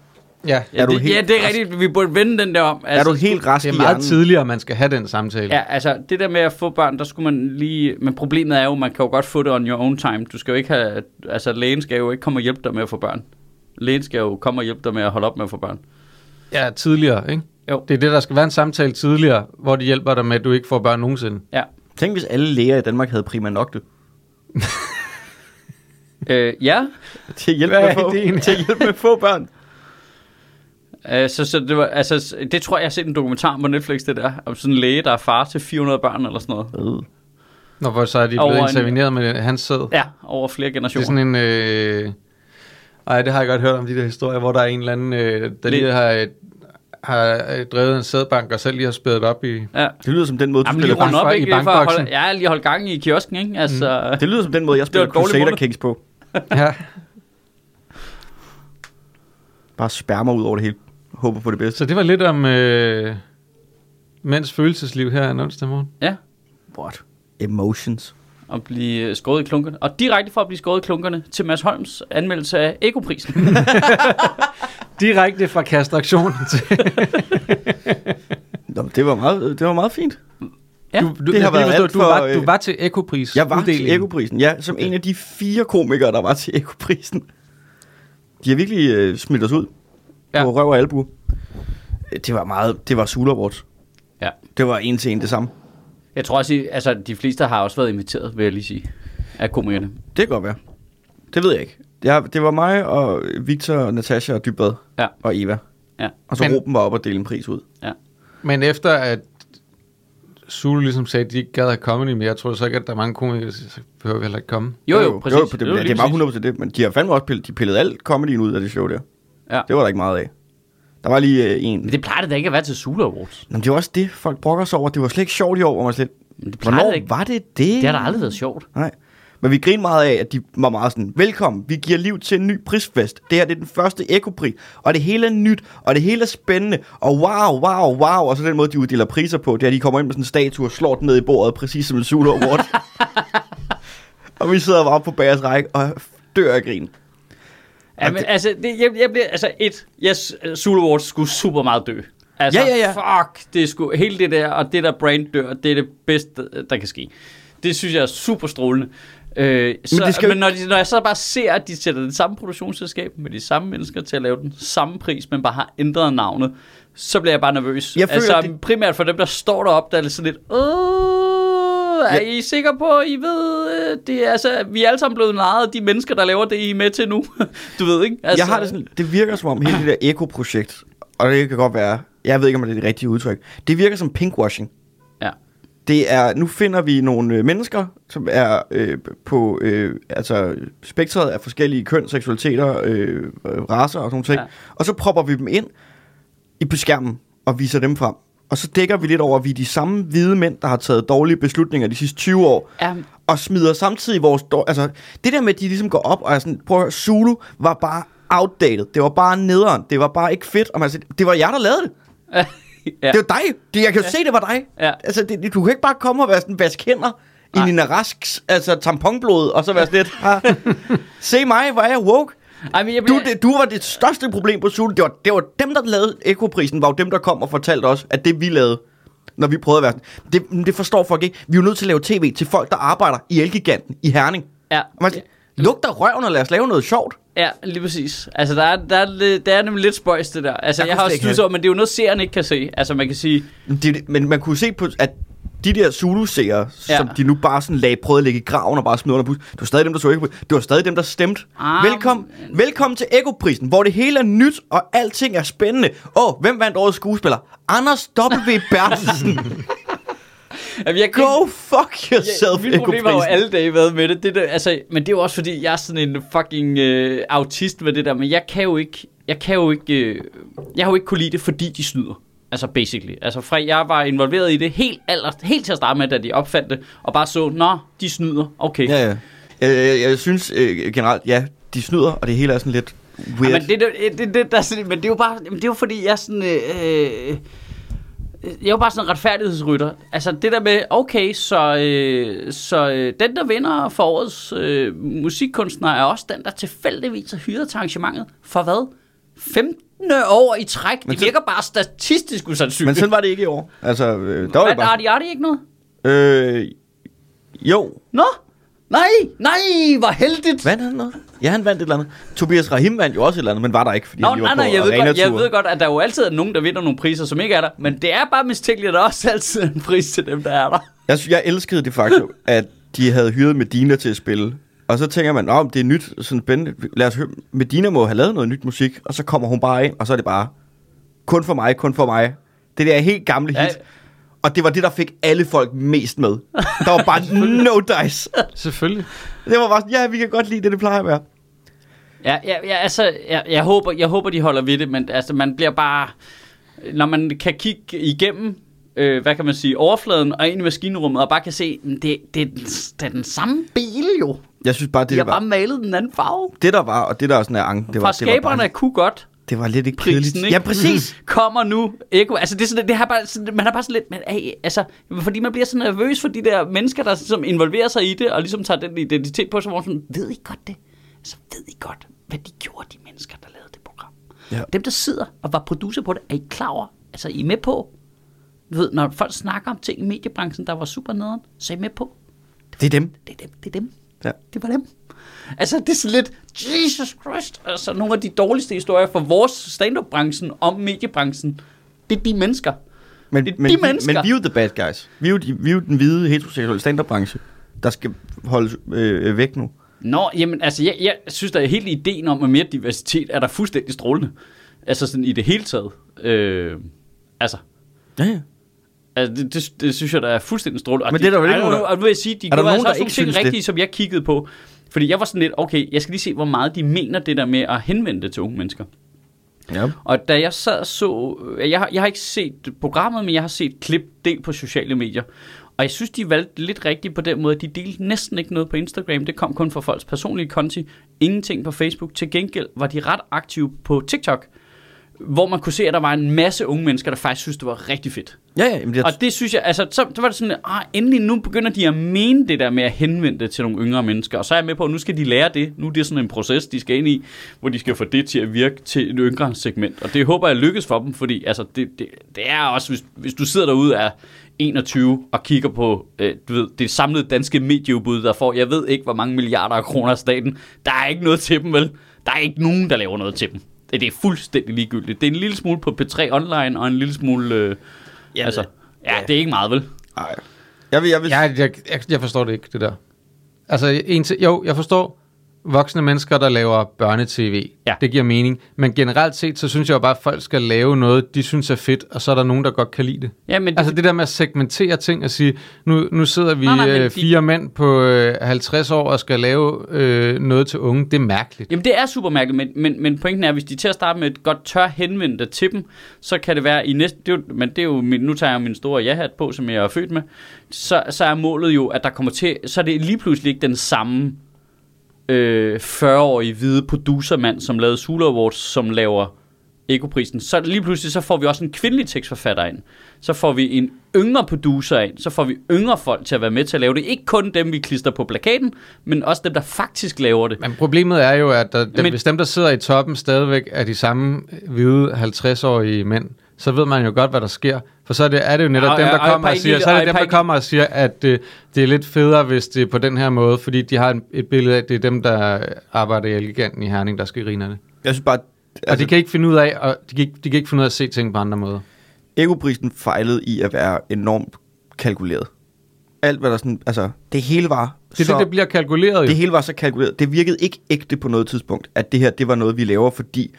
C: ja,
A: Ja,
D: Er du
A: det,
D: helt
A: ja, det er
D: rask?
A: rigtigt. Vi burde vende den der om.
D: Altså, er du helt rask
C: det
D: i
C: er meget
D: hjernen?
C: tidligere, man skal have den samtale.
A: Ja, altså det der med at få børn, der skulle man lige... Men problemet er jo, man kan jo godt få det on your own time. Du skal jo ikke have... Altså lægen skal jo ikke komme og hjælpe dig med at få børn. Lægen skal jo komme og hjælpe dig med at holde op med at få børn.
C: ja tidligere, ikke?
A: Jo.
C: Det er det, der skal være en samtale tidligere, hvor de hjælper dig med, at du ikke får børn nogensinde.
A: Ja.
D: Tænk, hvis alle læger i Danmark havde prima nocte.
A: Øh, ja.
D: Til at hjælpe
C: Hvad
D: med at
C: er
D: få,
C: ideen?
D: til at hjælpe med at få børn.
A: Øh, så, så det, var, altså, s- det tror jeg, jeg har set en dokumentar på Netflix, det der. Om sådan en læge, der er far til 400 børn eller sådan noget.
D: Øh.
C: Når hvor så er de
A: Over
C: blevet
A: en-
C: interveneret med hans sæd.
A: Ja, over flere
C: Det er
A: generationer.
C: sådan en... Øh... Ej, det har jeg godt hørt om, de der historier, hvor der er en eller anden, øh, der
A: Lidt.
C: lige har, øh, har øh, drevet en sædbank, og selv lige har spædet op i...
A: Ja.
D: Det lyder som den måde, du
A: Jamen, lige
D: spiller
A: rundt
C: bank-
A: op,
C: i
A: ikke? Lige for at
C: bankboksen.
A: holde, ja, lige holde gang i kiosken, ikke? Altså, mm.
D: Det lyder som den måde, jeg
A: var
D: spiller
A: et dårligt
D: Crusader
A: måned.
D: Kings på.
C: Ja.
D: Bare spærmer ud over det hele. Håber på det bedste.
C: Så det var lidt om øh, mænds følelsesliv her en onsdag morgen.
A: ja.
D: What? Emotions.
A: at blive øh, skåret i klunkerne. Og direkte fra at blive skåret i klunkerne til Mads Holms anmeldelse af Ekoprisen.
C: Direkte fra kastraktionen til...
D: Nå, men det var meget, det var meget fint.
A: Ja,
C: du, du,
D: det har
C: jeg kan lige
D: været alt
C: du, var,
D: for, øh,
C: du var til Ekopris.
D: Jeg var til Ekoprisen, ja, som en af de fire komikere, der var til Ekoprisen. De har virkelig øh, smidt os ud
C: Ja.
D: ja. på røv og albu. Øh, Det var meget, det var Sulawards.
A: Ja.
D: Det var en til en det samme.
A: Jeg tror også, I- altså de fleste har også været inviteret, vil jeg lige sige, af komikerne.
D: Det kan godt være. Det ved jeg ikke. Jeg, det var mig og Victor, Natasha og Dybvad
A: Ja.
D: og Eva.
A: Ja.
D: Og så
C: Men-
D: Men... Ruben var op og dele en pris ud.
C: Men efter at Zulu ligesom sagde, at de ikke gad have comedy mere, tror jeg så ikke, at der er mange komikere, der siger, så behøver vi heller ikke komme.
A: Jo, jo, præcis.
D: Jo, på
A: jo
D: det, det, ja,
A: lige
D: det er bare
A: præcis.
D: 100 det. Men de har fandme også pillet, de pillede alt comedyen ud af det show der.
A: Ja.
D: Det var der ikke meget af. Der var lige øh, en.
A: Men det plejer det da ikke at være til Sula Awards.
D: Jamen, det var også det, folk brokker sig over. Det var slet ikke sjovt i år, hvor man slet...
A: Men det plejer
D: Hvornår
A: det ikke.
D: var det det?
A: Det har da aldrig været sjovt.
D: Nej. Men vi griner meget af, at de var meget sådan, velkommen, vi giver liv til en ny prisfest. Det her det er den første ekopri, og det hele er nyt, og det hele er spændende, og wow, wow, wow. Og så den måde, de uddeler priser på, det er, at de kommer ind med sådan en statue og slår den ned i bordet, præcis som en Zulu Award. og vi sidder bare på bagers række og dør af grin.
A: Ja, men, altså, det, jeg, jeg bliver, altså et, jeg, Zulu Awards skulle super meget dø. Altså,
D: Ja, ja, ja.
A: fuck, det skulle, hele det der, og det der brand dør, det er det bedste, der kan ske. Det synes jeg er super strålende. Øh, så, men,
D: det skal jo
A: men når, de, når jeg så bare ser, at de sætter det samme produktionsselskab med de samme mennesker til at lave den samme pris, men bare har ændret navnet, så bliver jeg bare nervøs.
D: Jeg føler,
A: altså
D: det-
A: primært for dem, der står deroppe, der er sådan lidt, Åh, er
D: Ja.
A: I sikre på, at I ved, øh, det er, altså, vi er alle sammen blevet narret af de mennesker, der laver det, I er med til nu. du ved ikke? Altså,
D: Altså... Jeg har det sådan, det virker som om hele det der ekoprojekt, og det kan godt være, jeg ved ikke, om det er det rigtige udtryk, det virker som pinkwashing.
A: Ja.
D: Det er, nu finder vi nogle øh, mennesker, som er øh, på øh, altså, spektret af forskellige køn, seksualiteter, øh, raser og sådan noget.
A: Ja.
D: Ja. Og så propper vi dem ind i på skærmen og viser dem frem. Og så dækker vi lidt over, at vi er de samme hvide mænd, der har taget dårlige beslutninger de sidste 20 år
A: Ja,
D: og smider samtidig vores... Dår, altså, det der med, at de ligesom går op og er sådan, prøv at høre, Zulu var bare outdated. Det var bare nederen. Det var bare ikke fedt. Og man siger, det var jeg, der lavede det.
A: ja.
D: Ja. Det var dig. Det, jeg kan jo ja. se, det var dig.
A: Ja.
D: Altså, det, det- du kan ikke bare komme og være sådan, vask hænder i
A: Nej.
D: Nina Rasks altså, tamponblod, og så være sådan lidt, "Ah, se mig, hvor er jeg woke.
A: Ej, men jeg
D: Du,
A: bliver...
D: det, du var det største problem på Zulu. Det var, det var dem, der lavede ekoprisen, var jo dem, der kom og fortalte os, at det vi lavede, når vi prøvede at være sådan. Det, men det forstår folk ikke. Vi er jo nødt til at lave tv til folk, der arbejder i Elgiganten i Herning.
A: Ja.
D: Og man siger, luk dig røven og lad os lave noget sjovt.
A: Ja, lige præcis. Altså, der er, der er, lidt- der er nemlig lidt spøjs, det der. Altså, jeg,
D: Jeg
A: jeg
D: kunne
A: har
D: slet
A: også
D: ikke
A: studset
D: have-
A: over, men det er jo noget, seeren ikke kan se. Altså, man kan sige...
D: Men Det, er det- men man kunne se på, at de der Zulu-seere,
A: Ja.
D: ja. som de nu bare sådan lagde, prøvede at lægge i graven og bare smide under bus, det var stadig dem, der så ikke Det var stadig dem, der stemte.
A: Ah,
D: Ah, velkommen, velkommen til Ekoprisen, hvor det hele er nyt, og alting er spændende. Åh, hvem vandt årets skuespiller? Anders W. Bertelsen.
A: Jamen, jeg kan ikke-
D: Go fuck yourself,
A: mit problem har jo
D: Ekoprisen.
A: alle dage været med det. det der, altså, men det er jo også fordi, jeg er sådan en fucking øh, autist med det der, men jeg kan jo ikke, jeg kan jo ikke, øh, jeg har jo ikke kunne lide det, fordi de snyder. Altså basically. Altså fra jeg var involveret i det helt, aller, helt til at starte med, da de opfandt det, og bare så, nå, de snyder, okay.
D: Ja, ja. Jeg, jeg, jeg synes øh, generelt, ja, de snyder, og det hele er sådan lidt weird.
A: Ja, men, det, det, det, det, der, er sådan- men det er jo bare, jamen, det er jo fordi, jeg er sådan, øh, øh, jeg er jo bare sådan en retfærdighedsrytter. Altså det der med, okay, så, øh, så øh, den der vinder for årets øh, musikkunstner er også den, der tilfældigvis er hyret til arrangementet. For hvad? 15 år i træk? Det
D: Men så-
A: virker bare statistisk
D: men
A: usandsynligt.
D: sådan var det ikke i år. Altså, øh, der var
A: Hvad,
D: det
A: har
D: bare...
A: de, har de ikke noget?
D: Øh, jo,
A: Nå? Nej, nej, hvor heldigt.
D: Vandt han noget? Ja, han vandt et eller andet. Tobias Rahim vandt jo også et eller andet, men var der ikke, fordi
A: Nå,
D: han lige
A: nej,
D: var
A: nej,
D: på
A: jeg ved, godt, jeg
D: arenatur.
A: ved godt, at der jo altid er nogen, der vinder nogle priser, som ikke er der. Men det er bare mistænkeligt, at der også altid er en pris til dem, der er der.
D: Jeg, sy- jeg elskede det faktum, at de havde hyret Medina til at spille. Og så tænker man, om det er nyt, sådan spændende. Lad os høre, Medina må have lavet noget nyt musik, og så kommer hun bare ind, og så er det bare, kun for mig, kun for mig. Det der helt gamle hit.
A: Ja.
D: Og det var det, der fik alle folk mest med. Der var bare no dice.
C: Selvfølgelig.
D: Det var bare sådan, ja, vi kan godt lide det, det plejer at være.
A: Ja, ja, ja altså, jeg, jeg, håber, jeg håber, de holder ved det, men altså, man bliver bare... Når man kan kigge igennem, øh, hvad kan man sige, overfladen og ind i maskinrummet, og bare kan se, mm, det, det, er den, det er den samme bil jo. De
D: Jeg synes bare, det,
A: har
D: det var.
A: bare malet den anden farve.
D: Det der var, og det der sådan er anken, det
A: Fra
D: var, det var,
A: skaberne
D: bare,
A: kunne godt
D: det var lidt ikke
A: prisen,
D: kedeligt.
A: ikke?
D: Ja, præcis.
A: Kommer nu. Ikke? Altså, det er sådan, det har bare, sådan, man har bare sådan lidt, men, hey, altså, fordi man bliver så nervøs for de der mennesker, der som involverer sig i det, og ligesom tager den identitet på sig, hvor man sådan, ved I godt det? Altså, ved I godt, hvad de gjorde, de mennesker, der lavede det program? Ja.
D: Ja.
A: Dem, der sidder og var producer på det, er I klar over? Altså, I er med på? Du ved, når folk snakker om ting i mediebranchen, der var super nederen, så er I med på?
D: Det er dem.
A: Det er dem. Det er dem.
D: Ja.
A: Det var dem. Altså, det er sådan lidt, Jesus Christ, altså nogle af de dårligste historier fra vores stand-up-branchen om mediebranchen, det er de mennesker.
D: Men,
A: Det er de
D: men,
A: mennesker.
D: men vi er jo the bad guys. Vi er jo, de, vi er jo den hvide heteroseksuelle standardbranche, der skal holdes øh, væk nu.
A: Nå, jamen, altså, jeg, jeg synes da, at hele ideen om at mere diversitet er der fuldstændig strålende. Altså, sådan i det hele taget. Øh, altså,
D: Ja, ja.
A: altså det, det, det, synes jeg, der er fuldstændig strålende. Og
D: Men det er der vel ikke
A: og
D: nogen,
A: nu-
D: der-
A: Og nu vil jeg sige, de
D: der
A: gjorde
D: nogen,
A: altså
D: der
A: også nogle
D: ikke
A: ting
D: synes det?
A: rigtige, som jeg kiggede på. Fordi jeg var sådan lidt, okay, jeg skal lige se, hvor meget de mener det der med at henvende det til unge mennesker.
D: ja.
A: Mm. Og da jeg sad og så, øh, jeg har, jeg har ikke set programmet, men jeg har set klip del på sociale medier. Og jeg synes, de valgte lidt rigtigt på den måde. De delte næsten ikke noget på Instagram. Det kom kun fra folks personlige konti. Ingenting på Facebook. Til gengæld var de ret aktive på TikTok, hvor man kunne se, at der var en masse unge mennesker, der faktisk synes, det var rigtig fedt.
D: ja, ja jamen, jeg,
A: Og det synes jeg, altså, så, så var det sådan, ah, endelig nu begynder de at mene det der med at henvende det til nogle yngre mennesker. Og så er jeg med på, at nu skal de lære det. Nu er det sådan en proces, de skal ind i, hvor de skal få det til at virke til et yngre segment. Og det håber jeg lykkes for dem, fordi altså, det, det, det er også, hvis, hvis du sidder derude af 21 og kigger på øh, du ved, det samlede danske medieudbud, der får, jeg ved ikke, hvor mange milliarder af kroner af staten. Der er ikke noget til dem, vel? Der er ikke nogen, der laver noget til dem. Det det er fuldstændig ligegyldigt. Det er en lille smule på P3 Online, og en lille smule... Øh,
D: jeg,
A: altså, Ja, det er ikke meget, vel?
D: Ej. Jeg vil, jeg vil,
C: Jeg, jeg, jeg, jeg forstår det ikke, det der. Altså, en til, jo, jeg forstår voksne mennesker, der laver børnetv.
A: Ja.
C: Det giver mening. Men generelt set, så synes jeg jo bare, at folk skal lave noget, de synes er fedt, og så er der nogen, der godt kan lide det.
A: Ja, men
C: Altså det der med at segmentere ting og sige, nu, nu sidder vi
A: Nej, nej, men
C: øh,
A: de-
C: fire mænd på øh, 50 år og skal lave øh, noget til unge, det er mærkeligt.
A: Jamen det er super mærkeligt, men, men, men pointen er, at hvis de til at starte med et godt tør henvende dig til dem, så kan det være i næste, det er jo, men det er jo, min, nu tager jeg min store ja-hat på, som jeg er født med, så, så er målet jo, at der kommer til, så er det lige pludselig ikke den samme øh, 40-årige hvide producermand, som lavede Sula Awards, som laver Ekoprisen. Så lige pludselig så får vi også en kvindelig tekstforfatter ind. Så får vi en yngre producer ind. Så får vi yngre folk til at være med til at lave det. Ikke kun dem, vi klister på plakaten, men også dem, der faktisk laver det.
C: Men problemet er jo, at der, dem,
A: Men-
C: hvis dem, der sidder i toppen, stadigvæk er de samme hvide 50-årige mænd, så ved man jo godt, hvad der sker. For så er det, er det jo netop
A: Og-
C: dem,
A: og-
C: der
A: og
C: kommer
A: et
C: og
A: par
C: siger, så er det
A: enkelte- og
C: dem,
A: et
C: der
A: par
C: kommer og siger, at øh, det er lidt federe, hvis det er på den her måde, fordi de har en- et billede af, at det er dem, der arbejder i Elgiganten i Herning, der skal grine af det.
D: jeg synes bare,
C: Og altså, de
D: altså,
C: kan ikke finde ud af, og de kan, ikke, de kan ikke finde ud af at se ting på andre måder.
D: ekoprisen fejlede i at være enormt kalkuleret. Alt hvad der sådan, altså, det hele var
C: Det er
D: så,
C: det, det bliver kalkuleret jo.
D: det hele var så kalkuleret. Det virkede ikke ægte på noget tidspunkt, at det her, det var noget, vi laver, fordi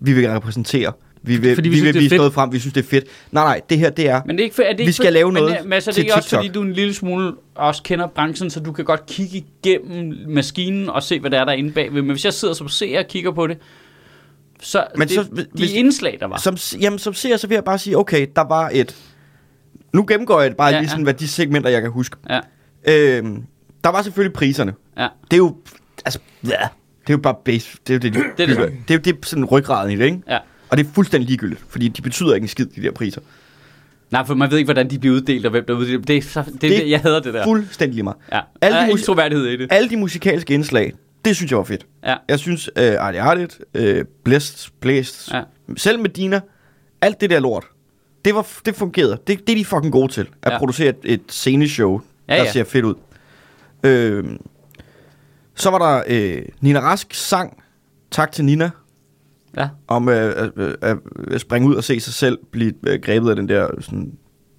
D: vi vil repræsentere. Vi vil,
C: Fordi
D: fordi
C: vi
D: vi, vi
C: synes,
D: vil
C: det er
D: vise
C: fedt.
D: noget frem, vi synes, det er fedt. Nej, nej, det her, det er...
A: Men det er ikke, for- er det
D: Vi
A: ikke
D: skal
A: for-
D: lave noget
A: men, men altså, det er
D: til
A: ikke også
D: TikTok.
A: fordi, du en lille smule også kender branchen, så du kan godt kigge igennem maskinen og se, hvad der er derinde bagved. Men hvis jeg sidder som seer og kigger på det, så,
D: Men
A: men det,
D: så-
A: så de
D: hvis-
A: indslag, der var. Så,
D: Som, jamen, som ser, så vil jeg bare sige, okay, der var et... Nu gennemgår jeg bare
A: Ja,
D: ja, lige
A: ja.
D: sådan, hvad de segmenter, jeg kan huske.
A: ja,
D: Øhm, der var selvfølgelig priserne.
A: ja.
D: Det er jo... Altså, ja, det er jo bare base. Det er jo det, de,
A: det
D: det,
A: samme.
D: det, det, er jo det sådan ryggraden i det, ikke?
A: Ja.
D: Og det er fuldstændig ligegyldigt, fordi de betyder ikke en skid, de der priser.
A: Nej, for man ved ikke, hvordan de bliver uddelt, og hvem der uddelt. Det, er så, det, det, det, jeg hader det der.
D: Fuldstændig lige meget.
A: ja.
D: alle
A: Der er
D: de
A: ingen
D: mus-
A: troværdighed i det.
D: Alle de musikalske indslag, det synes jeg var fedt.
A: Ja.
D: Jeg synes, øh, Artie Artit, øh, Blæst, Blæst,
A: Ja.
D: ja. selv Medina, alt det der lort, det, var, det fungerede. Det, det er de fucking gode til, at
A: Ja.
D: ja. producere et, et sceneshow,
A: Ja,
D: ja, der
A: ja.
D: ja. ser fedt ud. Øh, så var der øh, Nina Rask sang, tak til Nina,
A: Ja.
D: om øh, at, øh, at springe ud og se sig selv blive øh, grebet af den der sådan,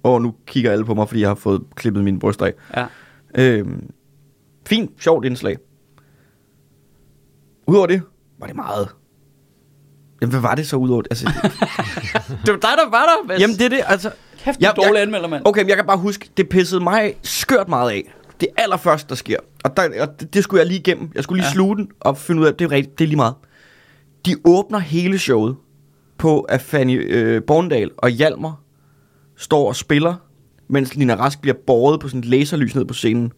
D: åh, nu kigger alle på mig, fordi jeg har fået klippet mine bryster af.
A: Ja.
D: Øh, fint, sjovt indslag. Udover det, var det meget. Jamen, hvad var det så udover det? Altså,
A: Det var dig, der var der. Mads.
D: jamen, det er det, altså...
A: Kæft, du er
D: jeg-
A: dårlig anmelder, mand.
D: Okay, men jeg kan bare huske, det pissede mig skørt meget af. Det allerførste, der sker. Og, der, og det, det skulle jeg lige igennem. Jeg skulle lige
A: Ja.
D: ja. sluge den og finde ud af, at det er, rigtigt, det er lige meget. De åbner hele showet på, at Fanny øh, Borndal og Hjalmar står og spiller, mens Lina Rask bliver båret på sådan et laserlys ned på scenen.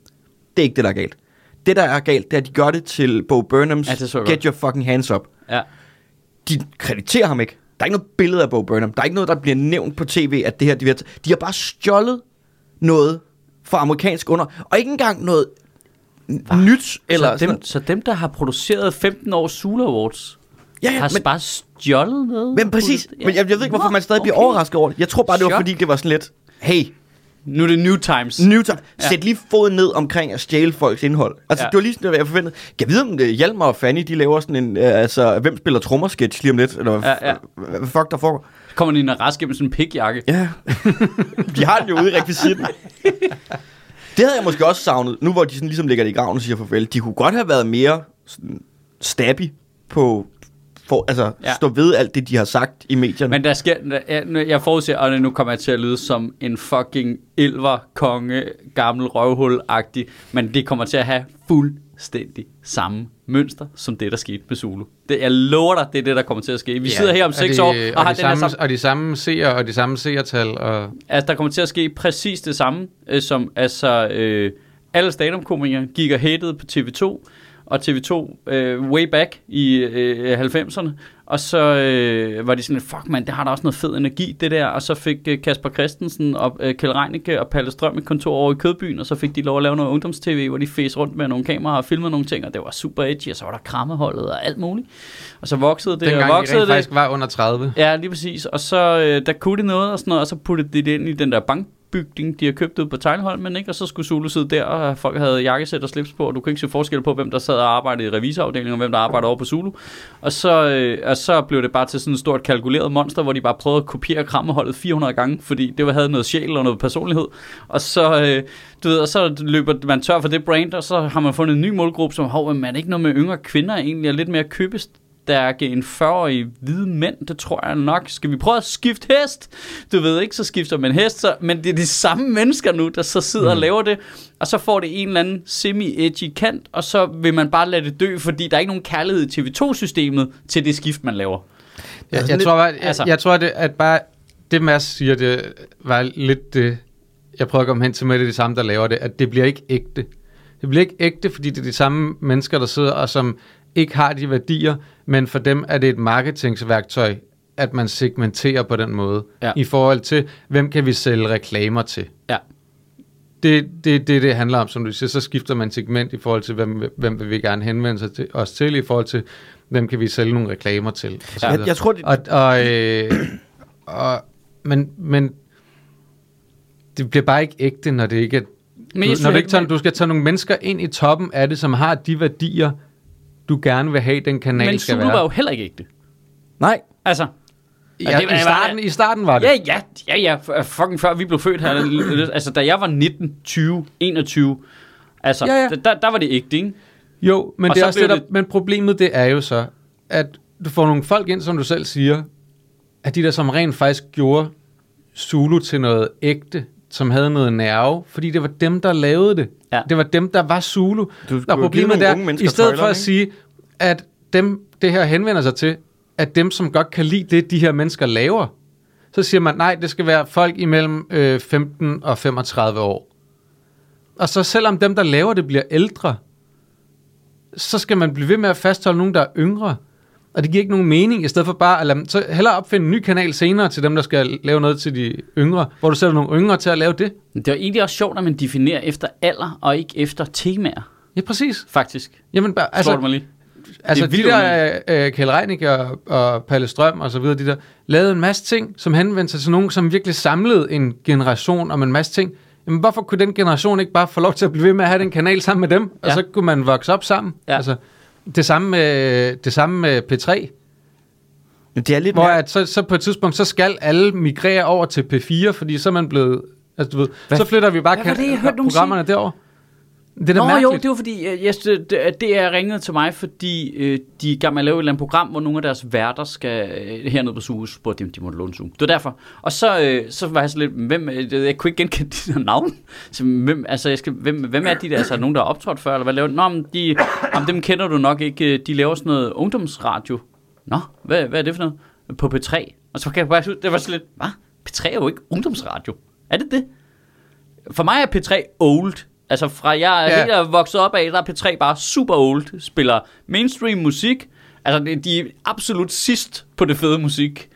D: Det er ikke det, der er galt. Det, der er galt, det er, at de gør det til Bo Burnhams
A: Ja, det så jeg
D: Get
A: godt.
D: Your Fucking Hands Up
A: Ja.
D: de krediterer ham ikke. Der er ikke noget billede af Bo Burnham. Der er ikke noget, der bliver nævnt på tv, at det her, de har, t- de har bare stjålet noget fra amerikansk under. Og ikke engang noget Hva? nyt. Eller
A: så,
D: sådan
A: dem, så dem, der har produceret 15 års Sula Awards,
D: Ja, ja,
A: har
D: men-
A: bare stjålet noget?
D: Men præcis.
A: Ja.
D: Men jeg, jeg ved ikke, hvorfor man stadig bliver
A: Okay.
D: overrasket over det. Jeg tror bare, det var
A: Chok.
D: fordi, det var sådan lidt, hey,
A: Nu er det new times.
D: Newton,
A: Ja.
D: ja. sæt lige foden ned omkring at stjæle folks indhold. Altså,
A: Ja.
D: ja. det var lige sådan, hvad jeg forventede. Jeg ved, om det Hjalmar og Fanny, de laver sådan en, øh, altså, hvem spiller trommersketch lige om lidt, eller hvad
A: Ja, ja.
D: hvad- hvad fuck der foregår.
A: Kommer den ind og rask gennem sådan en pikjakke.
D: Ja. de har den jo ude i rekvisitten. det havde jeg måske også savnet, nu hvor de sådan ligesom ligger det i graven og siger farvel. De kunne godt have været mere sådan, stabby på, for, altså,
A: Ja.
D: ja. stå ved alt det, de har sagt i medierne.
A: Men der sker, der- jeg- nu- jeg forudser, og nu kommer jeg til at lyde som en fucking elver, konge, gammel røvhul-agtig, men det kommer til at have fuldstændig samme mønster, som det, der skete med Zulu. Det, jeg lover dig, det er det, der kommer til at ske. Vi ja, sidder her om seks år, og,
C: de,
A: har
C: og, de
A: den her
C: samme,
A: samme...
C: og de samme seer og de samme seertal. Og,
A: Altså, der kommer til at ske præcis det samme, øh, som altså, øh, alle stand-up-komikere gik og hættede på TV2, og TV2 øh, way back i øh, 90'erne, og så øh, var de sådan, fuck man, det har da også noget fed energi, det der, og så fik øh, Kasper Christensen og øh, Kjell Reinicke og Palle Strøm et kontor over i Kødbyen, og så fik de lov at lave noget ungdomstv, hvor de fæs rundt med nogle kameraer og filmede nogle ting, og det var super edgy, og så var der krammeholdet og alt muligt, og så voksede det,
C: dengang
A: og
C: de rent
A: voksede det,
C: faktisk var under 30.
A: Ja, lige præcis. Og så øh, der kunne de noget og sådan noget, og så puttede de det ind i den der bankbygning, de har købt ud på Tegnholmen, ikke? Og så skulle Zulu sidde der, og folk havde jakkesæt og slips på, og du kunne ikke se forskel på, hvem der sad og arbejdede i revisorafdelingen, og hvem der arbejdede over på Zulu. Og så, øh, og så blev det bare til sådan et stort kalkuleret monster, hvor de bare prøvede at kopiere krammeholdet 400 gange, fordi det var- havde noget sjæl og noget personlighed. Og så, øh, du ved, og så løber man tør for det brand, og så har man fundet en ny målgruppe, som, hov, man er det ikke noget med yngre kvinder egentlig, og lidt mere købest stærke end 40-årige hvide mænd, det tror jeg nok. Skal vi prøve at skifte hest? Du ved ikke, så skifter man hest, så, men det er de samme mennesker nu, der så sidder mm. og laver det, og så får det en eller anden semi-edgy kant, og så vil man bare lade det dø, fordi der er ikke nogen kærlighed i TV2-systemet til det skift, man laver.
C: Jeg,
D: Altså
C: jeg,
D: lidt-
C: tror, bare, jeg,
A: altså-
C: altså. jeg tror, det, at bare det Mads siger, det var lidt det, jeg prøver at komme hen til med det, er de samme, der laver det, at det bliver ikke ægte. Det bliver ikke ægte, fordi det er de samme mennesker, der sidder og som ikke har de værdier, men for dem er det et marketingsværktøj, at man segmenterer på den måde,
A: Ja.
C: i forhold til, hvem kan vi sælge reklamer til.
A: Ja.
C: Det er det, det, det handler om, som du siger. Så skifter man segment i forhold til, hvem, hvem vil vi gerne henvende sig til, os til, i forhold til, hvem kan vi sælge nogle reklamer til. og så
A: Ja.
C: videre.
D: Jeg- jeg tror, det-
C: Og, og, øh, og, men, men det bliver bare ikke ægte, når det ikke er...
A: Men
C: Men
A: jeg
C: når
A: synes
C: det
A: ikke,
C: ikke tager,
A: man-
C: du skal tage nogle mennesker ind i toppen af det, som har de værdier, du gerne vil have, den kanal
A: men
C: skal
A: Zulu var
C: være.
A: jo heller ikke ægte.
D: Nej.
A: Altså,
C: Ja,
A: det var-
C: i, starten, I starten var det.
A: Ja, ja, ja, ja, f- fucking før vi blev født her. altså, da jeg var 19, 20, 21, altså,
C: Ja, ja.
A: Der, der var det ægte, ikke?
C: Jo, men,
A: Og
C: det
A: så
C: er også
A: blev
C: det, der,
A: det-
C: men problemet det er jo så, at du får nogle folk ind, som du selv siger, at de der, som rent faktisk gjorde Zulu til noget ægte, som havde noget nerve, fordi det var dem, der lavede det.
A: Ja.
C: Det var dem, der var Zulu.
D: skulle jo
C: og
D: give
C: problemet
D: nogle
C: det
D: unge
C: er,
D: mennesker
C: i stedet for
D: tøjlerne,
C: at sige, at dem, det her henvender sig til, at dem, som godt kan lide det, de her mennesker laver, så siger man, nej, det skal være folk imellem øh, 15 og 35 år. Og så selvom dem, der laver det, bliver ældre, så skal man blive ved med at fastholde nogen, der er yngre. Og det giver ikke nogen mening, i stedet for bare at lade dem, så hellere opfinde en ny kanal senere til dem, der skal lave noget til de yngre, hvor du sætter nogle yngre til at lave det.
A: Men Det er jo egentlig også sjovt, at man definerer efter alder og ikke efter temaer,
C: Ja, præcis.
A: faktisk.
C: Jamen, bare,
A: Altså,
C: altså,
A: Slår du mig lige?
C: altså
A: Det er
C: de
A: vildt
C: der øh, Kjell Reinicke og, og Palle Strøm og så videre, de der, lavede en masse ting, som henvendte sig til nogen, som virkelig samlede en generation om en masse ting. Jamen, hvorfor kunne den generation ikke bare få lov til at blive ved med at have den kanal sammen med dem, og
A: Ja.
C: så kunne man vokse op sammen?
A: Ja.
C: Altså, det samme med, det samme med P3.
D: Men det er lidt
C: Hvor
D: mere...
C: at så, så på et tidspunkt, så skal alle migrere over til P4, fordi så er man blevet... Altså, du ved, så flytter vi bare
A: Hvad var det, jeg hørte nogen
C: programmerne derover. Det er da
A: Nå
C: mærkeligt.
A: jo, det var fordi, øh, jeg, det, det- det er ringet til mig, fordi øh, de er i gang med at lave et eller andet program, hvor nogle af deres værter skal øh, hernede på Zoom, så spurgte de, om de måtte låne Zoom. Det var derfor. Og så, øh, så var jeg sådan lidt, hvem, øh, det- jeg kunne ikke genkende de der navn. Så, hvem, altså, jeg skal, hvem, hvem er de der? Altså, er der nogen, der er optrådt før, eller hvad laver de? Nå, men de, jamen, dem kender du nok ikke. Øh, De laver sådan noget ungdomsradio. Nå, hvad, hvad er det for noget? På P3. Og så kan jeg bare, det var sådan lidt, hvad? P3 er jo ikke ungdomsradio. Er det det? For mig er P3 old. Altså fra jeg er
C: Ja.
A: helt er vokset op af, der er P3 bare super old. Spiller mainstream musik. Altså det- de er absolut sidst på det fede musik.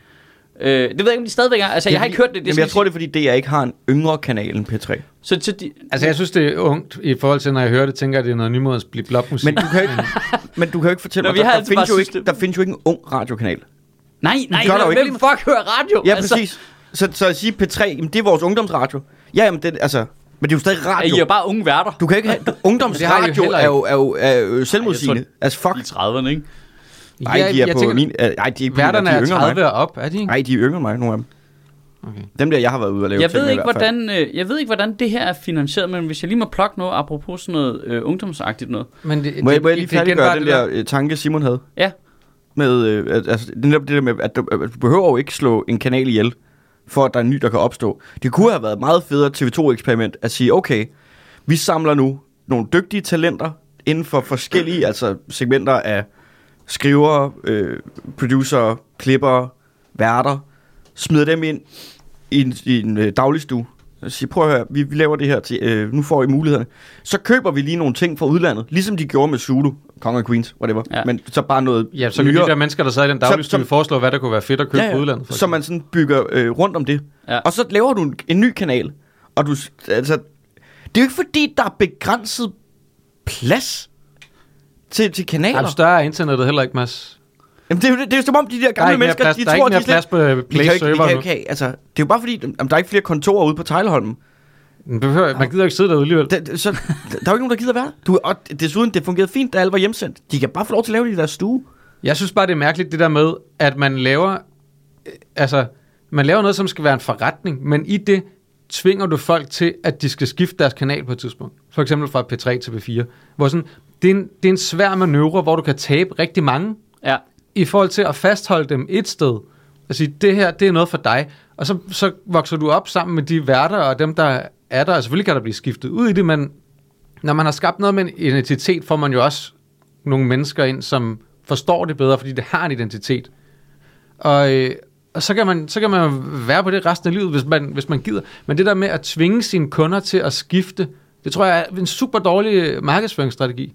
A: Øh, det ved jeg ikke, om de stadigvæk er. Altså jeg har ikke hørt det. det
D: Jamen,
A: skal
D: jeg tror,
A: sige.
D: det er, fordi DR ikke har en yngre kanal end P3.
A: Så til de,
C: Altså, jeg synes, det er ungt i forhold til, når jeg hører det, tænker jeg, det er noget nymodens blip-blop-musik.
D: Men du kan ikke, men du kan jo ikke fortælle
A: Nå,
D: mig,
A: vi har
D: der, der,
A: altid bare
D: findes jo
A: synes,
D: ikke,
A: det-
D: der findes jo ikke en ung radiokanal.
A: nej, nej,
D: gør der jo
A: hvem
D: ikke.
A: fuck hører radio? Altså,
D: Ja, altså. præcis. Så, så at sige P3, jamen, det er vores ungdomsradio. Ja, jamen, det, altså, men det er jo stadig radio.
A: I er jo bare unge værter.
D: Du kan ikke have...
C: Men det har I jo
D: Ungdomsradio
C: heller
D: er jo, er jo, er jo selvmodsigende.
A: Ej, jeg
D: Tror, altså, fuck.
A: I 30'erne, ikke?
D: Nej, de er på tænker, min... øh, Nej, de er ikke på min,
C: Værterne
D: de
C: er
D: yngre end
C: 30 og op, er de ikke?
D: mig. Nej, de er yngre end mig, nogle af dem.
C: Okay.
D: Dem der, jeg har været ude og lave
A: Jeg
D: ting
A: ved,
D: med
A: ikke,
D: i hvert fald.
A: hvordan, øh, jeg ved ikke, hvordan det her er finansieret, men hvis jeg lige må plukke noget, apropos sådan noget øh, ungdomsagtigt noget.
C: Men det,
D: Må jeg,
C: det-
D: må jeg lige
C: det- det er igen
D: færdiggøre
C: bare
D: den
C: det
D: der øh, tanke, Simon havde?
A: Ja.
D: Med, øh, at- altså, det er netop det der med, at du, at du behøver jo ikke slå en kanal ihjel, for at der er en ny, der kan opstå. Det kunne have været meget federe TV2-eksperiment at sige, okay, vi samler nu nogle dygtige talenter inden for forskellige altså segmenter af skrivere, øh, producer, klipper, værter, smider dem ind i en, i en øh, dagligstue. Og siger, prøv at høre, vi, vi laver det her, til, øh, nu får I mulighederne. Så køber vi lige nogle ting fra udlandet, ligesom de gjorde med Zulu, Kong og Queens, whatever.
A: Ja.
D: Ja. Men så bare noget
C: Ja, så kan de
D: nyere-
C: der mennesker, der sad i den dagligstue,
D: som-
C: foreslå, hvad der kunne være fedt at købe ja, ja. på udlandet. for
D: Så man sådan bygger øh, rundt om det.
A: Ja.
D: Ja. Og så laver du en, en ny kanal. Og du, s- altså, det er jo ikke fordi, der er begrænset plads til, til
C: eksempel.
D: kanaler.
C: Er du større er internettet heller ikke, Mads?
D: Jamen, det, er, jo- det er jo som om, de der
C: Der er
D: gamle
C: ikke mere
D: mennesker,
C: plads,
D: de
C: der er
D: tror,
C: ikke mere
D: de slet...
C: plads på
D: Vi kan
C: øh,
D: jo ikke, vi
C: Play-server
D: kan jo
C: nu.
D: ikke have, altså, det er jo bare fordi, jamen, der er ikke flere kontorer ude på Tejleholmen.
C: Man behøver- Man gider jo ikke sidde derude alligevel.
D: Der, så, der er jo ikke nogen, der gider være der. du, Og desuden, det fungerede fint, da alle var hjemsendt. De kan bare få lov til at lave det i deres stue.
C: Jeg synes bare, det er mærkeligt det der med, at man laver, øh, altså, man laver noget, som skal være en forretning, men i det tvinger du folk til, at de skal skifte deres kanal på et tidspunkt. For eksempel fra P3 til P4. Hvor sådan, det, er en, det er en svær manøvre, hvor du kan tabe rigtig mange,
A: Ja.
C: i forhold til at fastholde dem et sted. Og sige, det her, det er noget for dig. Og så, så vokser du op sammen med de værter og dem, der er der. Og selvfølgelig kan der blive skiftet ud i det, men når man har skabt noget med en identitet, får man jo også nogle mennesker ind, som forstår det bedre, fordi det har en identitet. Og, øh, og så, kan man, så kan man være på det resten af livet, hvis man, hvis man gider. Men det der med at tvinge sine kunder til at skifte, det tror jeg er en super dårlig øh, markedsføringsstrategi.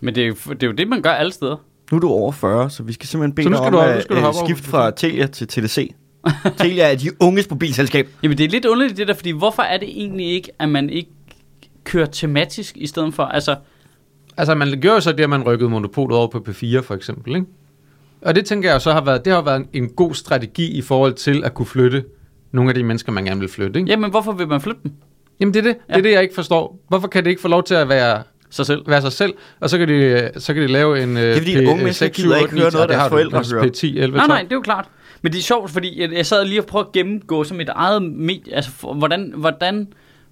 A: Men det er, jo, det er jo det, man gør alle steder.
D: Nu er du over 40, så vi skal simpelthen bede
C: Så nu
D: dig om
C: skal du- nu
D: at
C: skal du
D: øh,
C: hoppe over
D: skifte
C: på
D: fra Telia til TDC. Telia er de unges mobilselskab.
A: Jamen, det er lidt underligt det der, fordi hvorfor er det egentlig ikke, at man ikke kører tematisk i stedet for, altså,
C: Altså, man gjorde jo så det, at man rykkede monopolet over på P4, for eksempel, ikke? Og det tænker jeg så har været, det har været en, en god strategi i forhold til at kunne flytte nogle af de mennesker, man gerne vil flytte, ikke?
A: jamen, hvorfor vil man flytte dem?
C: Jamen, det er det. Ja. Det er det, jeg ikke forstår. Hvorfor kan det ikke få lov til at være,
A: Sig selv.
C: være sig selv? Og så kan de, øh, så kan de lave en... øh, Det
D: er fordi, unge mennesker gider ikke høre noget, deres forældre hører.
C: P10, 11,
A: Nej,
C: 12.
A: nej, det er jo klart. Men det er sjovt, fordi jeg, jeg sad lige og prøvede at gennemgå som et eget medie, altså for, hvordan, hvordan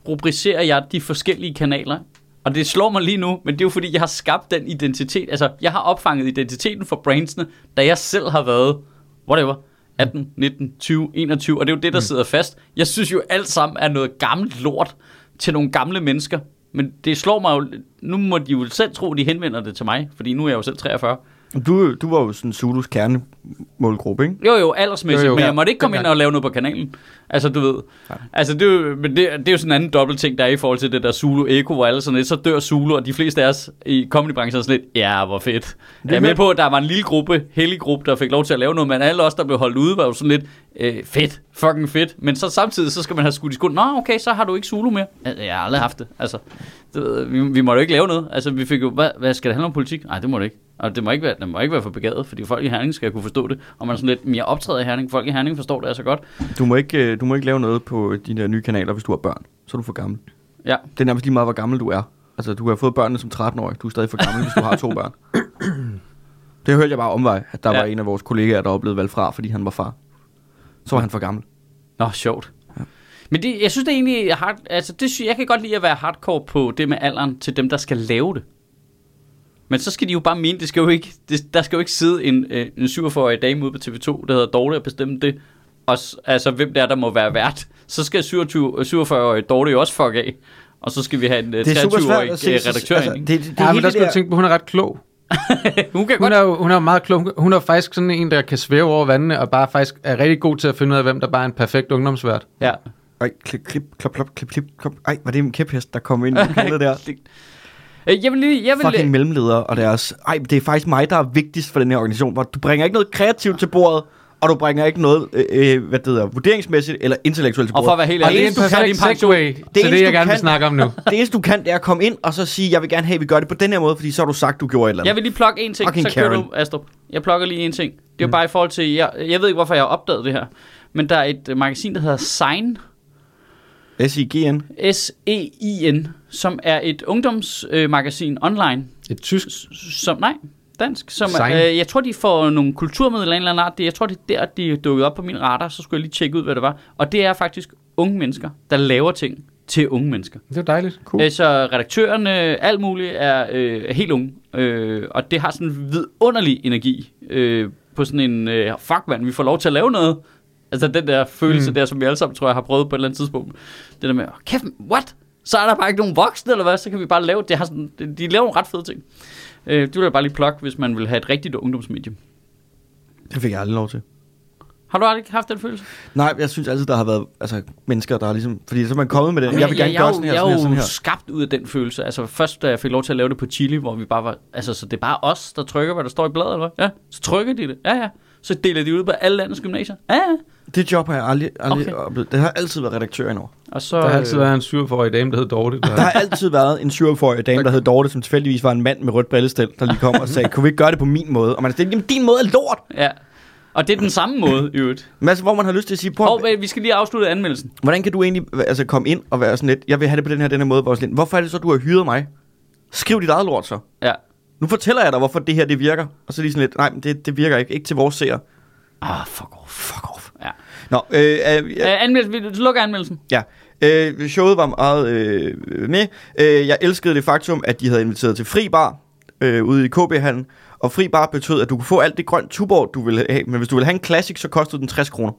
A: rubricerer jeg de forskellige kanaler? Og det slår mig lige nu, men det er jo fordi, jeg har skabt den identitet, altså jeg har opfanget identiteten for brandsene, da jeg selv har været, whatever, 18, 19, 20, 21, og det er jo det, der sidder fast. Jeg synes jo alt sammen er noget gammelt lort til nogle gamle mennesker, men det slår mig jo, nu må de jo selv tro, de henvender det til mig, fordi nu er jeg jo selv 43.
D: Du, du var jo sådan Zulus kernemålgruppe, ikke?
A: Jo, jo, aldersmæssigt, jo,
C: Jo,
A: jo.
C: jo.
A: men
C: Ja,
A: jeg måtte ikke komme ind
C: dengang.
A: og lave noget på kanalen. Altså, du ved. Altså, det er jo, men det, det er jo sådan en anden dobbelt ting, der er i forhold til det der Zulu Eko, hvor alle sådan lidt, så dør Zulu, og de fleste af os i comedybranchen er sådan lidt, ja, hvor fedt. Jeg er med på, at der var en lille gruppe, hellig gruppe, der fik lov til at lave noget, men alle os, der blev holdt ude, var jo sådan lidt, øh, fedt, fucking fedt. Men så samtidig, så skal man have skudt i skolen, nå, okay, så har du ikke Zulu mere. Altså, Jeg har aldrig haft det, altså. Du ved, vi, vi måtte jo ikke lave noget. Altså, vi fik jo, hvad, hvad skal det handle om politik? Nej, det må det ikke. Og det må ikke være, det må ikke være for begavet, fordi folk i Herning skal kunne forstå det. Og man er sådan lidt, "Men jeg optræder i Herning, folk i Herning forstår det altså godt.
D: Du må ikke, øh, du må ikke lave noget på de der nye kanaler, hvis du har børn. Så er du for gammel.
A: Ja,
D: Det er nærmest lige meget, hvor gammel du er. Altså, du har fået børnene som 13-årig. Du er stadig for gammel, hvis du har to børn. Det hørte jeg bare omvej, at der
A: Ja.
D: ja. var en af vores kollegaer, der var blevet valgt fra, fordi han var far. Så var han for gammel.
A: Nå, sjovt. Men det, jeg synes det er egentlig, hard, altså det, sy- jeg kan godt lide at være hardcore på det med alderen til dem, der skal lave det. Men så skal de jo bare mene, det skal jo ikke, det, der skal jo ikke sidde en, øh, en 47-årig dame ude på TV2, der hedder Dorte, og bestemme det. Og, s- altså, hvem det er, der må være vært. Så skal 27 47-årige Dorte jo også fuck af. Og så skal vi have en øh, 23-årig øh, redaktør altså, det...
D: det, det, det,
C: Ja,
D: ja,
C: men der
D: det,
C: skal du
D: der,
C: tænke på, hun er ret klog.
A: Hun kan
C: Hun
A: godt...
C: er, jo, hun er jo meget klog. Hun er jo faktisk sådan en, der kan svæve over vandene, og bare faktisk er rigtig god til at finde ud af, hvem der bare er en perfekt ungdomsvært.
A: Ja.
D: Ej, klip, klip, klip, klip, klip, klip, klip. Ej, var det en kæphest, der kom ind i lokalet der?
A: Øh, Jeg vil lige... Jeg vil,
D: fucking mellemledere og deres, ej, det er faktisk mig, der er vigtigst for den her organisation, hvor du bringer ikke noget kreativt til bordet, og du bringer ikke noget, øh, øh, hvad det hedder, vurderingsmæssigt eller intellektuelt til
A: Og
D: bordet.
A: for at være helt
C: Og
A: ærlig,
C: det er en
A: du kan din
C: perfekt
A: pension.
C: segue til
D: eneste,
C: det, jeg
D: du
C: gerne vil
D: kan-
C: snakke om nu.
D: Det eneste, du kan, det er at komme ind og så sige, jeg vil gerne have, at vi gør det på den her måde, fordi så har du sagt, du gjorde et eller andet.
A: Jeg vil lige plukke en ting,
D: Fucking
A: så kører
D: Karen. Mm.
A: du, Astrup. Jeg plukker lige en ting. Det er jo bare i forhold til, jeg, jeg ved ikke, hvorfor jeg har opdaget det her, men der er et øh, magasin, der hedder Sign,
D: S-I-G-N.
A: S-E-I-N, E som er et ungdomsmagasin øh, online,
C: Et tysk.
A: som, nej, dansk, som,
C: Sein.
A: øh, jeg tror, de får nogle kulturmidler af en eller anden art. Det- Jeg tror, det er der, de er dukket op på min radar, så skulle jeg lige tjekke ud, hvad det var. Og det er faktisk unge mennesker, der laver ting til unge mennesker.
C: Det er jo dejligt.
D: Cool.
A: Øh, så redaktørerne, alt muligt, er øh, er helt unge. Øh, og det har sådan en vidunderlig energi øh, på sådan en, øh, fuck mand, vi får lov til at lave noget. Altså den der følelse mm. der, som vi alle sammen tror, jeg har prøvet på et eller andet tidspunkt. Det der med, "Åh, kæft, what? Så er der bare ikke nogen voksne, eller hvad? Så kan vi bare lave, det har sådan, de, de laver nogle ret fede ting. Øh, det vil jeg bare lige plukke, hvis man vil have et rigtigt ungdomsmedie.
D: Det fik jeg aldrig lov til.
A: Har du aldrig haft den følelse?
D: Nej, jeg synes altid, der har været altså, mennesker, der er ligesom... Fordi så er man kommet med den. Jeg vil gerne
A: jeg,
D: gøre
A: jeg,
D: sådan
A: jeg,
D: her,
A: jeg
D: sådan her, sådan
A: er
D: her.
A: jo skabt ud af den følelse. Altså først, da jeg fik lov til at lave det på Chili, hvor vi bare var... Altså, så det er bare os, der trykker, hvad der står i bladet, eller hvad? Ja, så trykker de det. Ja, ja. Så deler de ud på alle landets gymnasier. Ja, ja.
D: Det job har jeg aldrig, aldrig
A: Okay.
D: okay. oplevet. Det har altid været redaktør indover.
A: Og så...
C: Der har altid været en 47-årig dame, der hed Dorte.
D: Der
C: Der...
D: har altid været en 47-årig dame, der hed Dorte, som tilfældigvis var en mand med rødt brillestel, der lige kom og sagde, kunne vi ikke gøre det på min måde? Og man sagde, jamen din måde er lort!
A: øh, Ja. Og det er den samme måde, i øvrigt.
D: Men altså, hvor man har lyst til at sige,
A: Og
D: på,
A: øh, vi skal lige afslutte anmeldelsen.
D: hvordan kan du egentlig altså, komme ind og være sådan lidt, jeg vil have det på den her, den her måde, hvor sådan lidt, hvorfor er det så, du har hyret mig? Skriv dit eget lort så.
A: Ja.
D: Nu fortæller jeg dig, hvorfor det her det virker. Og så lige sådan lidt, nej, men det, det virker ikke. Ikke til vores seer.
A: Ah, fuck off. Fuck off. Ja.
D: Nå, øh, øh, ja,
A: Øh, anmeldelsen, vi lukker anmeldelsen.
D: ja. Øh, showet var meget øh, med. Øh, jeg elskede det faktum, at de havde inviteret til fri bar øh, ude i KB-hallen. Og fri bar betød, at du kunne få alt det grønt tuborg, du ville have. Men hvis du ville have en classic, så kostede den 60 kroner.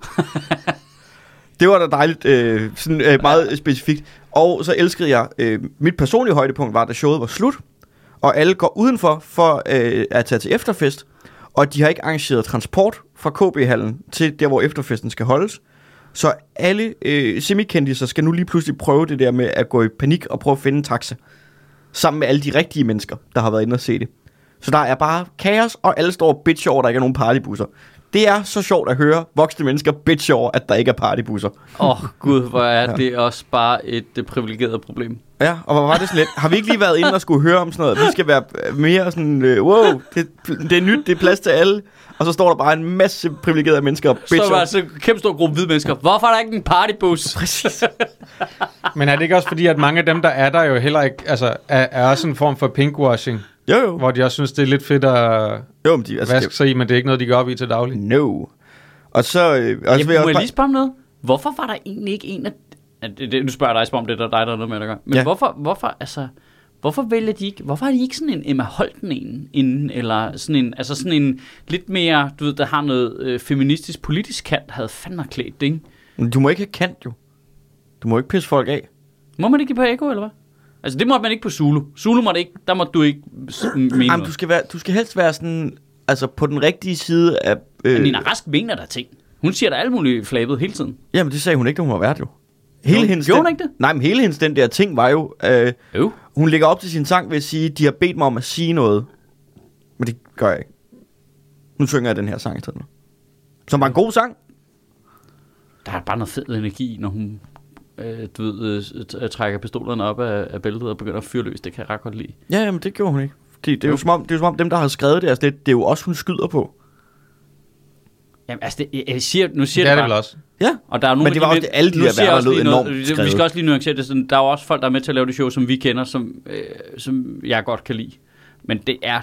D: det var da dejligt, øh, sådan øh, meget specifikt. Og så elskede jeg, øh, mit personlige højdepunkt var, da showet var slut. Og alle går udenfor for øh, at tage til efterfest. Og de har ikke arrangeret transport fra KB-hallen til der, hvor efterfesten skal holdes. Så alle øh, semikendiser skal nu lige pludselig prøve det der med at gå i panik og prøve at finde en taxa. Sammen med alle de rigtige mennesker, der har været inde og se det. Så der er bare kaos, og alle står og bitcher over, at der ikke er nogen partybusser. Det er så sjovt at høre voksne mennesker bitche over, at der ikke er partybusser.
A: Åh, oh, gud, hvor er det også bare et øh, privilegeret problem.
D: Ja, og hvor var det sådan lidt, har vi ikke lige været inde og skulle høre om sådan noget? Vi skal være øh, mere sådan, øh, wow, det, det er nyt, det er plads til alle. Og så står der bare en masse privilegerede mennesker og
A: Så
D: bitcher.
A: er der altså en kæmpe stor gruppe hvide mennesker. Hvorfor er der ikke en partybus?
D: Præcis.
C: Men er det ikke også fordi, at mange af dem, der er der jo heller ikke, altså, er, er også en form for pinkwashing,
D: Jo, jo.
C: hvor de også synes, det er lidt fedt at
D: Jo, men de, altså,
C: vaske sig i, men det er ikke noget, de går op i til daglig.
D: No. Og så... Øh, og så
A: Altså,
D: vil
A: jeg, må
D: jeg
A: jeg
D: også
A: lige spørge om noget? Hvorfor var der egentlig ikke en af... Ja, det, det, nu spørger jeg dig, Spom, det er der dig, der er noget med, der gør. Men ja.
D: Ja.
A: hvorfor, hvorfor, altså, hvorfor vælger de ikke... Hvorfor har de ikke sådan en Emma Holten en inden, eller sådan en, altså sådan en lidt mere, du ved, der har noget øh, feministisk politisk kant, havde fandme klædt det, ikke?
D: bare, du må ikke have kant, jo. Du må ikke pisse folk af.
A: Må man ikke på Eko, eller hvad? Altså, det måtte man ikke på Zulu. Zulu måtte ikke, der måtte du ikke s- mene
D: Jamen,
A: Jamen,
D: du,
A: noget.
D: skal være, du skal helst være sådan... Altså, på den rigtige side af... Øh,
A: Men Nina Rask mener der ting. Hun siger der alt muligt flabet hele tiden.
D: jamen, det sagde hun ikke, da hun var vært, jo. Hele
A: Jo,
D: hendes
A: gjorde hun
D: den-
A: ikke det?
D: Nej, men hele hendes den der ting var jo... Øh,
A: Jo.
D: hun lægger op til sin sang ved at sige, de har bedt mig om at sige noget. Men det gør jeg ikke. Nu synger jeg den her sang i stedet. Som var en god sang.
A: Der er bare noget fed energi, når hun øh, du ved, øh, t- øh, trækker pistolerne op af, af bæltet og begynder at fyre løs. Det kan jeg ret godt lide.
D: Ja, jamen, det gjorde hun ikke. Det, det, er jo som om, det er jo som om, dem, der har skrevet det, altså, det, det er jo også, hun skyder på.
A: Jamen, altså, det, jeg, jeg siger, nu siger
C: Det er
A: det
C: det
A: bare.
C: vel også.
D: Ja,
A: Og der er jo nogle
D: Men det var
A: af
D: også det, alle de
A: nu
D: her
A: siger jeg
D: værter
A: også lige
D: lød
A: noget-
D: enormt
A: Vi skal
D: skrevet.
A: også lige nuancere det sådan. Der er jo også folk, der er med til at lave det show, som vi kender, som, øh, som jeg godt kan lide. Men det er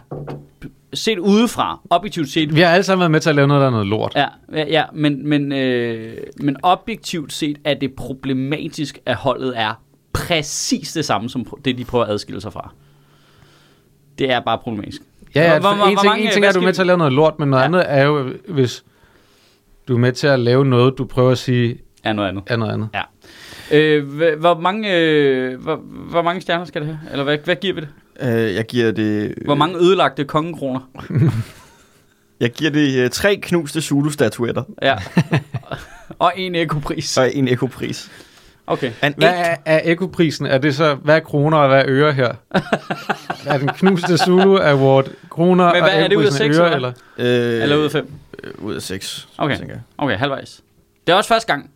A: set udefra, objektivt set,
C: Vi har alle sammen været med til at lave noget, der er noget lort.
A: Ja, ja, ja men, men, øh, men objektivt set er det problematisk, at holdet er præcis det samme som pr- det, de prøver at adskille sig fra. Det er bare problematisk.
C: Ja, ja
A: Hvor- hvor-
C: hvor, en,
A: hvor
C: ting,
A: mange- øh,
C: en ting
A: hvad
C: er, at du er
A: skal
C: med
A: vi-
C: til at lave noget lort, men noget
A: Ja.
C: ja. andet er jo, hvis du er med til at lave noget, du prøver at sige
A: Er noget andet.
C: er noget andet.
A: Ja. Øh, hva- hvor, mange, øh, hvor, hvor mange stjerner skal det have? Eller hvad, hvad giver vi det?
D: Øh, jeg giver det...
A: Hvor mange ødelagte kongekroner?
D: Jeg giver det øh, tre knuste Zulu-statuetter
A: Ja. Og en ekopris.
D: og en ekopris.
A: Okay.
D: En
C: Hvad
D: ek-
C: er, er ekoprisen? Er det så, hvad er kroner og hvad er øre her? er den knuste Zulu Award kroner
A: Men
C: og
A: hvad er det ud af
C: ekoprisen
A: seks,
C: øre,
A: eller?
C: eller?
D: øh,
A: Eller ud af fem.
D: øh, ud af seks,
A: Okay.
D: tænker jeg.
A: Okay, halvvejs. Det er også første gang.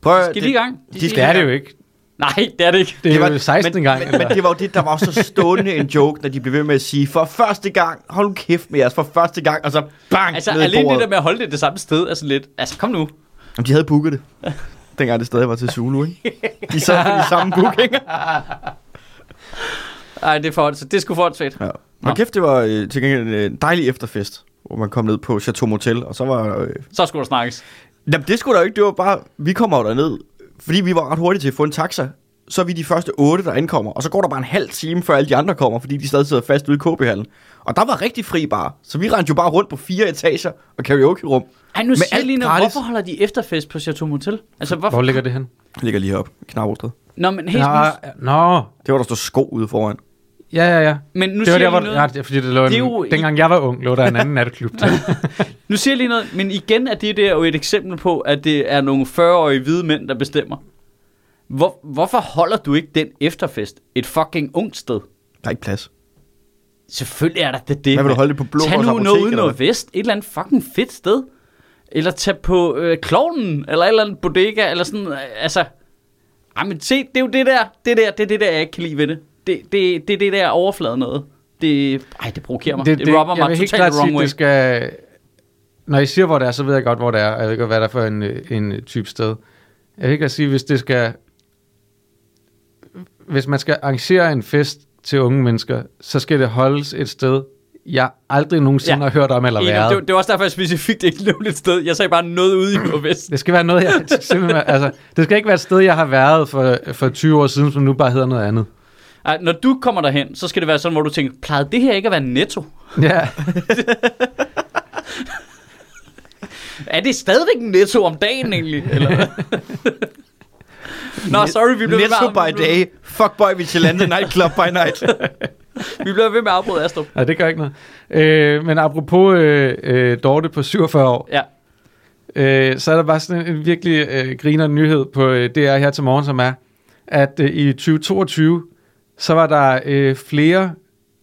D: Prøv, at-
A: Skal de lige i gang?
D: Øh, de
C: Det er det jo ikke.
A: Nej, det er det ikke.
C: Det er
D: Det var-
C: jo 16
D: men-
C: gang.
D: Men, men det var jo det, der var så stående en joke, når de blev ved med at sige, for første gang, hold nu kæft med jeres, for første gang, og så bang,
A: Altså,
D: ned i
A: alene det
D: bordet.
A: der med at holde det det samme sted er sådan lidt... Altså, kom nu.
D: Jamen, de havde booket det. Dengang det stadig var til Zulu, ikke? De sad på de samme bookinger.
A: Ej, det er for, så det skulle få et
D: Ja. Og kæft, det var øh, til gengæld en øh, dejlig efterfest, hvor man kom ned på Chateau Motel, og så var... Øh,
A: Så skulle der snakkes.
D: jamen, det skulle der jo ikke, det var bare... Vi kommer jo derned, fordi vi var ret hurtige til at få en taxa, så er vi de første otte, der ankommer, og så går der bare en halv time, før alle de andre kommer, fordi de stadig sidder fast ude i KB-hallen. Og der var rigtig fri bar, så vi rendte jo bare rundt på fire etager og karaoke-rum.
A: Ej, nu
D: Med
A: siger jeg
D: alt
A: lige noget.
D: gratis.
A: Hvorfor holder de efterfest på Chateau Motel? Altså, hvorfor?
C: Hvor ligger det hen?
D: Jeg ligger lige heroppe, Knabelsted.
A: Nå, men helt
C: Nå,
A: nu,
C: nå.
D: Det var der stod sko ude foran.
C: Ja, ja, ja.
A: Men nu
C: det
A: siger
C: var
A: jeg lige
C: der, hvor,
A: noget.
C: ja, det er fordi det lå en,
A: Det er jo-
C: dengang jeg var ung, lå der en anden natklub til.
A: nu siger jeg lige noget, men igen er det der jo et eksempel på, at det er nogle 40-årige hvide mænd, der bestemmer. Hvor, hvorfor holder du ikke den efterfest et fucking ungt sted?
D: Der er ikke plads.
A: Selvfølgelig er der det det.
D: Hvad vil du
A: mand.
D: holde det på Blågårds
A: Tag nu
D: Apotek,
A: noget uden
D: eller
A: noget vest. Et eller andet fucking fedt sted. Eller tag på øh, klovnen, eller et eller andet bodega, eller sådan, øh, altså... Ej, men se, det er jo det der, det der, det er det der, jeg ikke kan lide ved det. Det, det, det er det der overflade noget. Det, ej, det provokerer mig. Det, det, det robber
C: jeg
A: mig
C: vil helt
A: totalt
C: klart
A: the wrong
C: sige,
A: way.
C: det skal... Når I siger, hvor det er, så ved jeg godt, hvor det er. og Jeg ved godt, hvad det er for en, øh, en øh, type sted. Jeg vil ikke sige, hvis det skal... Hvis man skal arrangere en fest til unge mennesker, så skal det holdes et sted, jeg aldrig nogensinde
A: Ja.
C: ja. har hørt om eller
A: Enig,
C: været.
A: det, det, var også derfor, jeg specifikt ikke nævnte et sted. Jeg sagde bare noget ude i nordvest.
C: Det skal være noget, jeg simpelthen... altså, det skal ikke være et sted, jeg har været for, for 20 år siden, som nu bare hedder noget andet.
A: Ej, når du kommer derhen, så skal det være sådan, hvor du tænker, plejede det her ikke at være netto?
C: Ja,
A: Er det stadigvæk netto om dagen egentlig? Eller? hvad? Nå, sorry, vi blev ved
D: Netto
A: med at-
D: by day, fuckboy Vigilante nightclub by night.
A: Vi blev ved med at afbryde Astrup.
C: nej, det gør ikke noget. Øh, men apropos øh, øh, Dorte på 47 år,
A: Ja.
C: øh, så er der bare sådan en, en virkelig øh, griner nyhed på øh, DR her til morgen, som er, at øh, i 2022, så var der øh, flere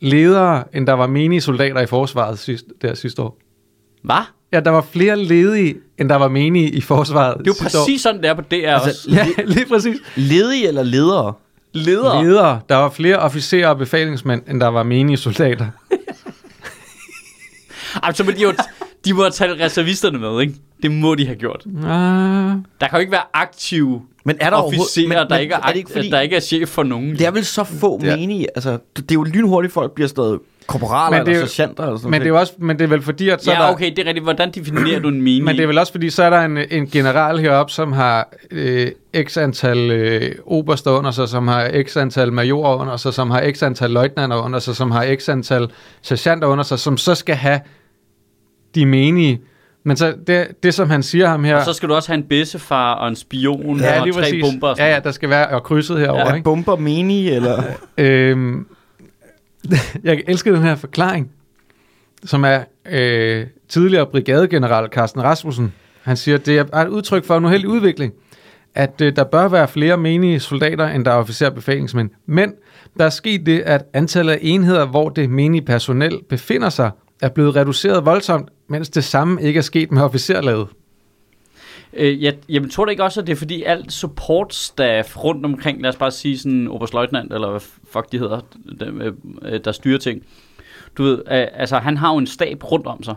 C: ledere, end der var menige soldater i forsvaret sidst, der sidste år.
A: Hvad?
C: Ja, der var flere ledige, end der var menige i forsvaret
A: Det er jo
C: sidste år.
A: præcis sådan, det er på DR altså, også.
C: Ja, lige præcis.
D: Ledige eller ledere?
A: Leder. Leder.
C: Ledere. Der var flere officerer og befalingsmænd, end der var menige
A: Ah.
C: soldater.
A: Altså, men de, jo, de må have talt reservisterne med, ikke? Det må de have gjort.
C: Ah.
A: Der kan jo ikke være aktive
D: Men er der
A: officerer,
D: overhovedet- men-
A: der,
D: men
A: ikke er,
D: er det ikke fordi-
A: der ikke er chef for nogen.
D: Det er vel så få
C: Det er-
D: ja. menige. Altså, det, det er jo lynhurtigt, folk bliver stadig korporaler
C: Men det er
D: eller
C: jo-
D: sergeanter eller sådan
C: Men det er
D: noget.
C: jo også, men det er vel fordi, at så er
A: ja,
C: der,
A: okay, det er rigtigt. Hvordan definerer du en mening?
C: men det er vel også fordi, så er der en, en general heroppe, som har øh, x antal øh, oberster under sig, som har x antal majorer under sig, som har x antal løjtnanter under sig, som har x antal sergeanter under sig, som så skal have de menige. Men så det, det som han siger ham her...
A: Og så skal du også have en bæssefar og en spion ja,
C: ja,
A: og
C: lige
A: tre
C: præcis.
A: bomber. Og sådan.
C: ja, ja, der skal være og krydset herover.
A: Ja.
C: Ja.
D: Er bomber menige, eller...
C: Øhm, jeg elsker den her forklaring, som er øh, tidligere brigadegeneral Carsten Rasmussen. Han siger, at det er et udtryk for en uheldig udvikling, at øh, der bør være flere menige soldater, end der er officerbefalingsmænd. Men der er sket det, at antallet af enheder, hvor det menige personel befinder sig, er blevet reduceret voldsomt, mens det samme ikke er sket med officerlaget.
A: Øh, jeg, jamen, tror du ikke også, at det er fordi alt support staff rundt omkring, lad os bare sige sådan oberstløjtnant, eller hvad fuck de hedder, dem, øh, øh, der styrer ting. Du ved, øh, altså han har jo en stab rundt om sig,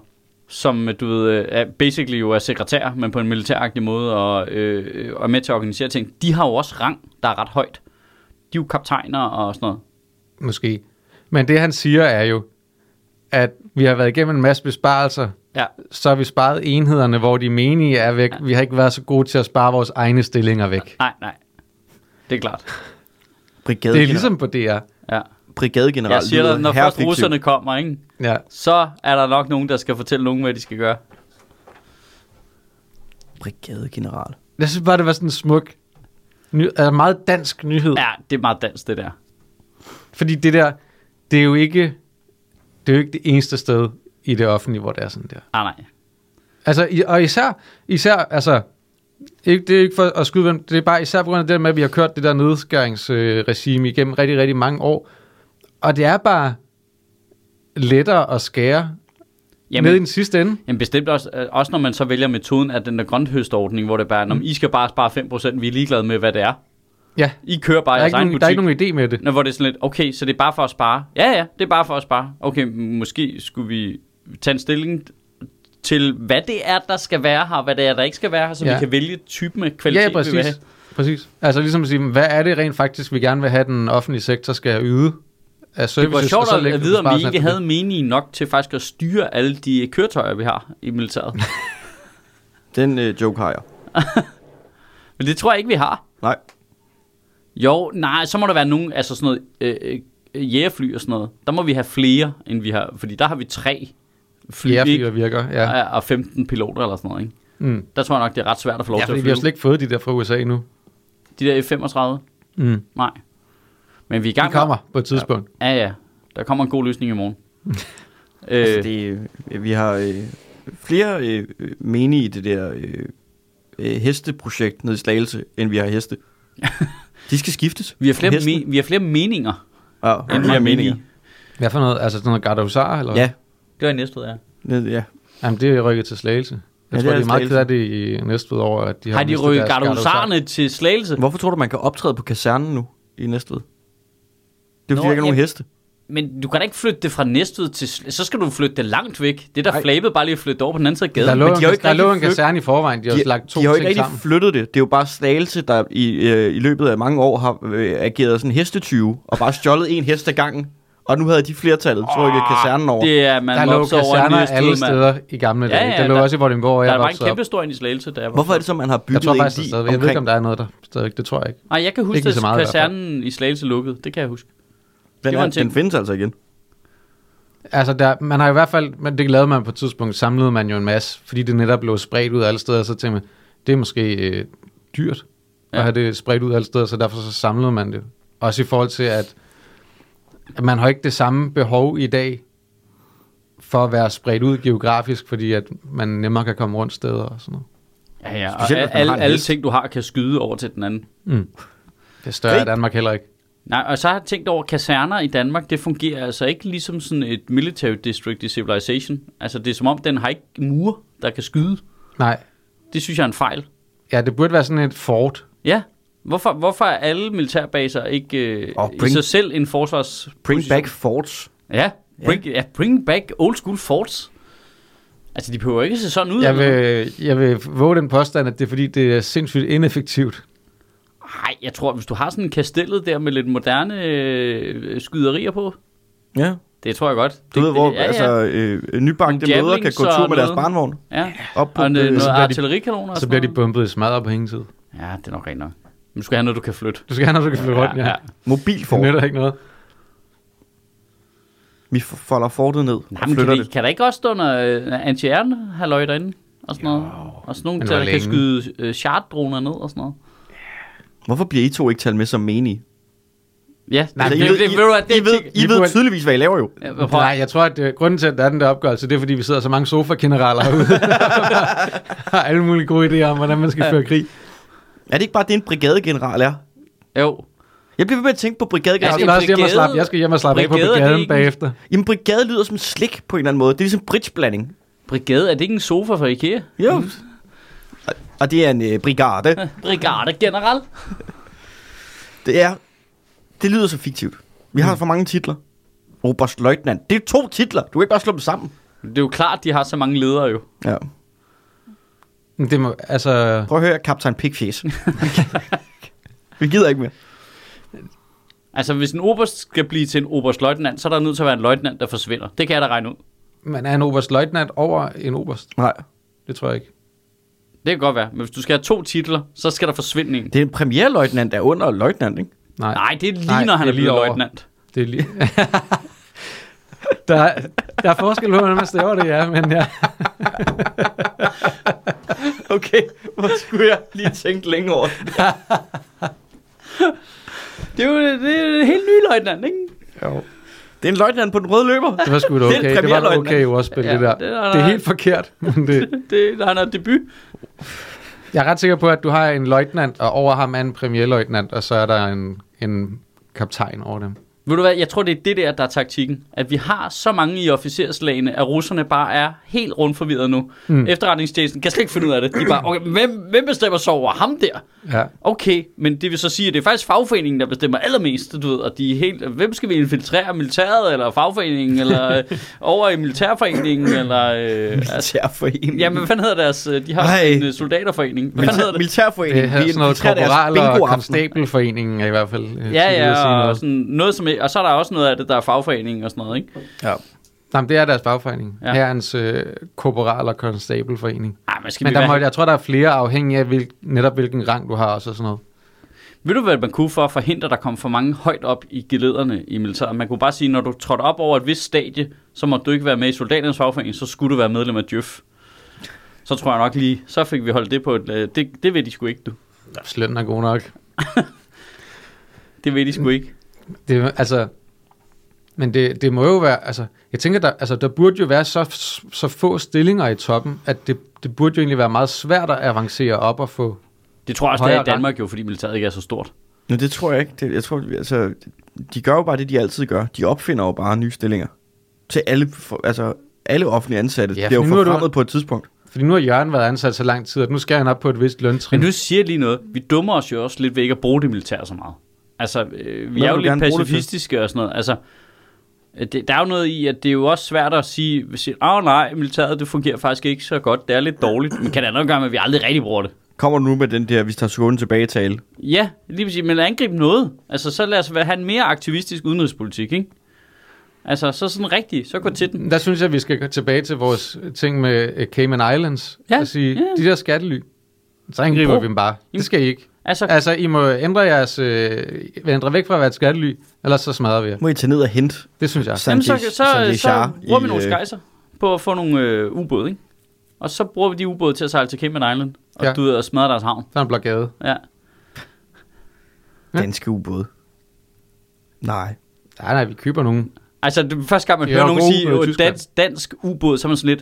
A: som øh, du ved, øh, er basically jo er sekretær, men på en militæragtig måde, og, øh, øh, og er med til at organisere ting. De har jo også rang, der er ret højt. De er jo kaptajner og sådan noget.
C: Måske. Men det han siger er jo, at vi har været igennem en masse besparelser,
A: Ja,
C: så har vi sparet enhederne, hvor de menige er væk. Vi har ikke været så gode til at spare vores egne stillinger væk.
A: nej, nej. Det er klart.
D: Brigadegeneral.
C: Det er ligesom på DR.
A: Ja.
D: Brigadegeneral.
A: Jeg siger
D: lyder
A: dig, når først
D: herrefriktivt.
A: russerne kommer, ikke?
C: Ja.
A: så er der nok nogen, der skal fortælle nogen, hvad de skal gøre.
D: Brigadegeneral.
C: Jeg synes bare, det var sådan en smuk, ny, altså meget dansk nyhed. Ja.
A: Ja, det er meget dansk, det der.
C: Fordi det der, det er jo ikke det, er jo ikke det eneste sted i det offentlige, hvor det er sådan der.
A: Ah, nej.
C: Altså, i- og især, især altså, ikke, det er ikke for at skyde, hvem- det er bare især på grund af det der med, at vi har kørt det der nedskæringsregime igennem rigtig, rigtig mange år. Og det er bare lettere at skære Jamen, ned i den sidste ende.
A: jamen bestemt også, øh, også når man så vælger metoden af den der grønthøstordning, hvor det bare,
C: Mm.
A: når I skal bare spare 5%, vi er ligeglade med, hvad det er.
C: Ja,
A: I kører bare
C: der er,
A: jeres
C: ikke
A: egen
C: nogen,
A: butik.
C: der er ikke nogen idé med det.
A: Nå, hvor det er sådan lidt, okay, så det er bare for at spare. Ja, ja, det er bare for at spare. Okay, m- måske skulle vi tage en stilling til, hvad det er, der skal være her, hvad det er, der ikke skal være her, så ja.
C: Ja.
A: vi kan vælge typen af kvalitet,
C: Ja,
A: vi vil have.
C: præcis. Præcis. Altså ligesom at sige, hvad er det rent faktisk, vi gerne vil have, den offentlige sektor skal yde af services?
A: Det var
C: og
A: sjovt
C: så lægge
A: at vide, om vi
C: besparelsen
A: ikke
C: efter det.
A: havde meningen nok til faktisk at styre alle de køretøjer, vi har i militæret.
D: Den øh, joke har jeg.
A: Men det tror jeg ikke, vi har.
D: Nej.
A: Jo, nej, så må der være nogen, altså sådan noget øh, øh, jægerfly og sådan noget. Der må vi have flere, end vi har, fordi der har vi tre fly,
C: Ja,
A: ikke?
C: flyver virker, ja.
A: Ja. og 15 piloter eller sådan noget, ikke?
C: Mm.
A: Der tror jeg nok, det er ret svært at få lov
C: Ja,
A: til at
C: fordi vi har
A: flyve.
C: slet ikke fået de der fra USA endnu.
A: De der F-35,
C: Mm.
A: nej. Men vi er i gang
C: De
A: med-
C: kommer på et tidspunkt.
A: Ja, ja. Der kommer en god løsning i morgen. øh,
D: Altså, det, øh, vi har øh, flere øh, øh, menige i det der øh, øh, hesteprojekt nede i Slagelse, end vi har heste. De skal skiftes.
A: vi, har flere
D: Hesten.
A: me- vi har flere meninger,
D: Ja,
A: end
D: vi
A: vi
D: har
A: har
D: meninger.
A: meninger.
C: Hvad for noget? Altså sådan noget Garda Husar, eller hvad?
D: Ja,
A: Det var i næste, ja.
D: ned, ja.
C: Jamen, det er rykket til Slagelse. Jeg
D: Ja,
C: ja, tror,
D: det er
C: de er meget
D: Slagelse.
C: ked af det i næste over, at de har,
A: Har de
C: mistet
A: rykket
C: deres Garda Husar.
A: gardehusarerne til Slagelse?
D: Hvorfor tror du, man kan optræde på kasernen nu i Næstved? Det er
A: Nå,
D: fordi, Nå, ikke er nogen
A: ja.
D: heste.
A: Men du kan da ikke flytte det fra Næstved til... Sl- Så skal du flytte det langt væk. Det er der
C: Nej.
A: flabet bare lige at flytte det over på den anden side af gaden.
C: Der lå,
A: Men de har jo
C: en,
A: ikke
C: der lå en
A: rigtig flyttet-
C: kaserne i forvejen, de har
D: De,
C: lagt to
D: de har jo ikke
C: ting
D: rigtig
C: sammen.
D: flyttet det. Det er jo bare Slagelse, der i, øh, i løbet af mange år har øh, ageret sådan hestetyve, og bare stjålet en hest ad gangen. Og nu havde de flertallet, så rykkede kasernen over.
A: Det er, man
C: Der lå
A: mobser over i
C: kaserner
A: Næstved,
C: alle
A: mand.
C: steder i gamle
A: Ja,
C: dage.
A: ja,
C: der lå
A: der-
C: også i Vordingborg, og
A: Der
C: jeg
A: var en
C: voksede op.
A: kæmpe stor ind i Slagelse, der
D: Hvorfor er det så, man har
C: Jeg
D: bygget
C: tror
D: en
C: faktisk, der
D: sti
C: stadig, jeg ved ikke, om der er noget der stadigvæk. Det tror jeg ikke.
A: Nej, jeg kan huske,
C: Ikke
A: at
C: så meget i hvert fald.
A: kasernen i Slagelse lukkede. Det kan jeg huske.
D: Den,
A: Det var
D: er,
A: en ting.
D: den findes altså igen.
C: Altså, der, man har i hvert fald, men det lavede man på et tidspunkt, samlede man jo en masse, fordi det netop blev spredt ud alle steder, så tænkte man, det er måske øh, dyrt
A: Ja.
C: ja. at have det spredt ud alle steder, så derfor så samlede man det. Også i forhold til, at, at man har ikke det samme behov i dag for at være spredt ud geografisk, fordi at man nemmere kan komme rundt steder og sådan noget.
A: Ja, ja. Og
D: Specielt, hvis man
A: alle,
D: har en
A: alle
D: hest.
A: ting, du har, kan skyde over til den anden.
C: Det er større
D: Krig.
C: i Danmark heller ikke.
A: Nej, og så har jeg tænkt over, kaserner i Danmark, det fungerer altså ikke ligesom sådan et military district i Civilization. Altså, det er som om, den har ikke mure, der kan skyde.
C: Nej,
A: Det synes jeg er en fejl.
C: ja, det burde være sådan et fort.
A: Ja, hvorfor, hvorfor er alle militærbaser ikke øh,
D: Og
A: i
D: bring-
A: sig selv en forsvars...
D: Bring back forts.
A: Ja, bring, ja. ja, bring back old school forts. Altså, de behøver ikke se sådan ud.
C: Jeg
A: eller noget.
C: vil, jeg vil våge den påstand, at det er fordi, det er sindssygt ineffektivt.
A: Nej, jeg tror, hvis du har sådan en kastellet der med lidt moderne øh, skyderier på,
D: Ja.
A: det tror jeg godt.
D: Du
A: det,
D: ved, hvor
A: ja, ja,
D: altså, øh, nybagte
A: Nogle
D: mødre kan
A: javelins
D: gå tur
A: og
D: med deres
A: noget.
D: barnvogn.
A: Ja.
D: Op på
A: Og noget,
D: øh,
A: noget
C: så bliver de-
A: artillerikanoner og
C: Så
A: sådan
C: bliver de
A: noget.
C: bumpet i smadret på ingen tid.
A: Ja, det er nok rent nok. Men du skal have noget, du kan flytte.
C: Du skal have noget, du kan flytte rundt, ja. ja. Det
D: mobilfort.
C: nytter ikke noget.
D: Vi f- folder fortet ned
A: Nej,
D: og
A: men kan,
D: flytter
A: vi,
D: det.
A: kan der ikke også stå noget øh, anti halløj derinde? Og sådan noget. Og sådan nogle,
C: men
A: der,
C: hvor
A: der kan
C: længe?
A: skyde øh, chartdroner ned og sådan noget.
D: Hvorfor bliver I to ikke talt med som menige? Altså,
A: Ja,
C: Nej,
A: det,
D: I
A: det,
D: ved-
A: det, ved du, at det,
D: I ved, I
C: vi
D: ved
C: burde-
D: tydeligvis, hvad I laver jo.
A: Ja, prøv,
C: Nej, jeg tror, at øh, grunden til, at der er den der opgørelse, det er, fordi vi sidder så mange sofa-generaler herude, som har alle mulige gode idéer om, hvordan man skal føre krig.
D: Er det ikke bare det, en brigadegeneral er?
A: Jo.
D: Jeg bliver ved med at tænke på
C: Jeg
D: brigadegeneral.
A: Altså,
C: skal,
A: en
C: også hjem og
A: brigade-
C: slappe, jeg skal hjem og slappe af på
A: brigade, er det
C: brigaden
A: ikke en-
C: bagefter.
D: Jamen, brigade lyder som slik på en eller anden måde. Det er ligesom bridgeblanding.
A: Brigade, er det ikke en sofa fra IKEA?
D: Jo. Og- Og det er en øh, brigade.
A: Brigade general.
D: Det er... Det lyder så fiktivt. Vi har for mange titler. Oberstløjtnant. Det er to titler. Du kan ikke bare slå dem sammen.
A: Det er jo klart, de har så mange ledere jo.
D: Ja.
C: Men Det må, altså,
D: Prøv at høre, kaptajn Pigfjes. Vi gider ikke mere.
A: Altså, hvis en oberst skal blive til en oberstløjtnant, så er der nødt til at være en løjtnant, der forsvinder. Det kan jeg da regne ud.
C: man er en oberstløjtnant over en oberst.
D: Nej.
C: Det tror jeg ikke.
A: Det kan godt være. Men hvis du skal have to titler, så skal der forsvinde en.
D: Det er en premierløjtnant, der er under løjtnant, ikke?
C: Nej,
A: Nej, det er lige,
C: Nej,
A: når han er
C: det er lige
A: blevet
C: over.
A: løjtnant.
C: det er lige... der, er- der er forskel på, hvordan man staver det, ja, men ja.
D: Okay, hvor skulle jeg lige tænke længe over det?
A: Det er jo det er en helt ny løjtnant, ikke?
C: Jo.
D: Det er en løjtnant på den røde løber.
C: Det var sgu da
D: Det er
C: okay. Det, var da
D: premierløjtnant.
C: okay ordspil,
A: Ja,
C: ja, det der.
A: det
C: Det,
A: er-
C: er, det er helt forkert. Men det,
A: Det, når han er debut.
C: jeg er ret sikker på, at du har en løjtnant, og over ham er en premierløjtnant, og så er der en, en kaptajn over dem.
A: Ved du hvad, jeg tror, det er det der, der er taktikken. At vi har så mange i officerslagene, at russerne bare er helt rundt forvirret nu. Mm. Efterretningstjenesten kan slet ikke finde ud af det. De er bare, okay, hvem, hvem bestemmer så over ham der?
C: Ja.
A: Okay, men det vil så sige, at det er faktisk fagforeningen, der bestemmer allermest, du ved, og de er helt, hvem skal vi infiltrere, militæret, eller fagforeningen, eller øh, over i militærforeningen, eller, øh, altså,
D: Militærforening.
A: jamen, hvad fanden hedder deres, øh, de har
D: Ej.
A: en øh, soldaterforening, hvad fanden hedder
D: Militær,
A: det?
C: Det
D: militærforeningen.
C: er sådan noget
D: infiltrerer deres
C: korporal og
D: bingoaften.
C: konstabelforeningen er i hvert fald. øh, tidligere
A: Ja,
C: at sige
A: ja, og,
C: noget.
A: sådan noget som, og så er der også noget af det, der er fagforeningen og sådan noget, ikke?
D: Ja.
C: Jamen, det er deres bagforening.
A: Ja.
C: Ja. Herrens øh, korporal- og konstabelforening.
A: Ej, men skal
C: Men
A: vi
C: der må,
A: være...
C: jeg tror, der er flere afhængig af hvil, netop hvilken rang du har også og sådan noget.
A: Ved du, hvad man kunne for at forhindre, at der kom for mange højt op i gelederne i militæret? Man kunne bare sige, når du trådte op over et vist stadie, så må du ikke være med i soldaternes fagforening, så skulle du være medlem af Djøf. Så tror jeg nok lige, så fik vi holdt det på et... øh, Det, det ved de sgu ikke, du.
C: Hvis lønnen er god nok.
A: Det ved de sgu ikke.
C: Det, er- altså, men det, det må jo være, altså, jeg tænker, der, altså, der burde jo være så, så få stillinger i toppen, at det, det burde jo egentlig være meget svært at avancere op og få...
A: Det tror jeg også, det er
C: Højere
A: i Danmark jo, fordi militæret ikke er så stort.
D: Nå, det tror jeg ikke. Det, jeg tror, altså, de gør jo bare det, de altid gør. De opfinder jo bare nye stillinger. Til alle, for, altså, alle offentlige ansatte.
C: Ja,
D: Ja, det er jo
C: for nu er du-
D: forfremmet på et tidspunkt.
C: Fordi nu har Jørgen været ansat så lang tid, at nu skal han op på et vist løntrin.
A: Men du siger lige noget. Vi dummer os jo også lidt ved ikke at bruge det militær så meget. Altså, øh, vi
D: Hvad
A: er jo
D: vil du
A: lidt
D: gerne bruge det til?
A: pacifistiske og sådan noget. Altså, øh, det, der er jo noget i, at det er jo også svært at sige, hvis jeg, åh nej, militæret det fungerer faktisk ikke så godt, det er lidt dårligt, men kan det have noget at gøre med, at vi aldrig rigtig bruger det?
D: Kommer du nu med den der, vi tager skolen tilbage tale?
A: Ja, lige præcis, men angrib noget. Altså, så lad os være- have en mere aktivistisk udenrigspolitik, ikke? Altså, så sådan rigtig, så gå til den.
C: Der synes jeg, at vi skal gå tilbage til vores ting med øh, Cayman Islands.
A: Ja,
C: Ja. Og sige,
A: ja.
C: ja. de der skattely, så angriber
A: Bro.
C: vi dem bare. Det skal I ikke.
A: Altså,
C: Altså, I må ændre jeres... Øh, ændre væk fra at være et skattely, ellers så smadrer vi jer.
D: Må I tage ned og hente
C: Det synes jeg.
A: Jamen, så,
D: Sanjay,
A: så, så,
D: Sanjay Shah
A: så bruger vi
D: i,
A: nogle
D: øh,
A: skejser på at få nogle øh, ubåde, ikke? Og så bruger vi de ubåde til at sejle til Cayman Island, og ja.
C: Ja.
A: du ved, og smadre deres havn.
C: Der er en blokade.
A: Ja.
D: danske ubåde. Nej.
C: Nej, nej, vi køber nogen.
A: Altså, det er første gang, man
C: De
A: hører
C: er
A: nogen
C: gode
A: sige
C: mod
A: øh,
C: Tyskland.
A: dansk, dansk ubåd, så er man sådan lidt,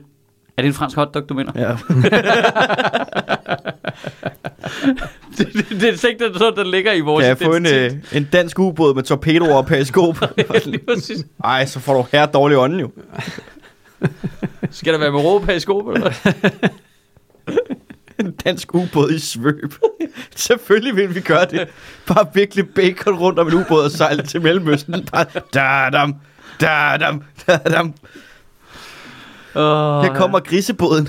A: er det en fransk hotdog, du mener?
D: Ja.
A: det, det, det er slet ikke den, sådan, der ligger i vores
D: Kan jeg få en,
A: identitet.
D: øh, en dansk ubåd med torpedoer og periskop?
A: Lige præcis.
D: Ej, så får du her dårlig ånden jo.
A: Skal der være med råbe i skoen, eller hvad?
D: En dansk ubåd i svøb. Selvfølgelig vil vi gøre det. Bare virkelig bacon rundt om en ubåd og sejle til Mellemøsten. Bare da-dam, da-dam, da-dam.
A: Åh,
D: Her kommer grisebåden.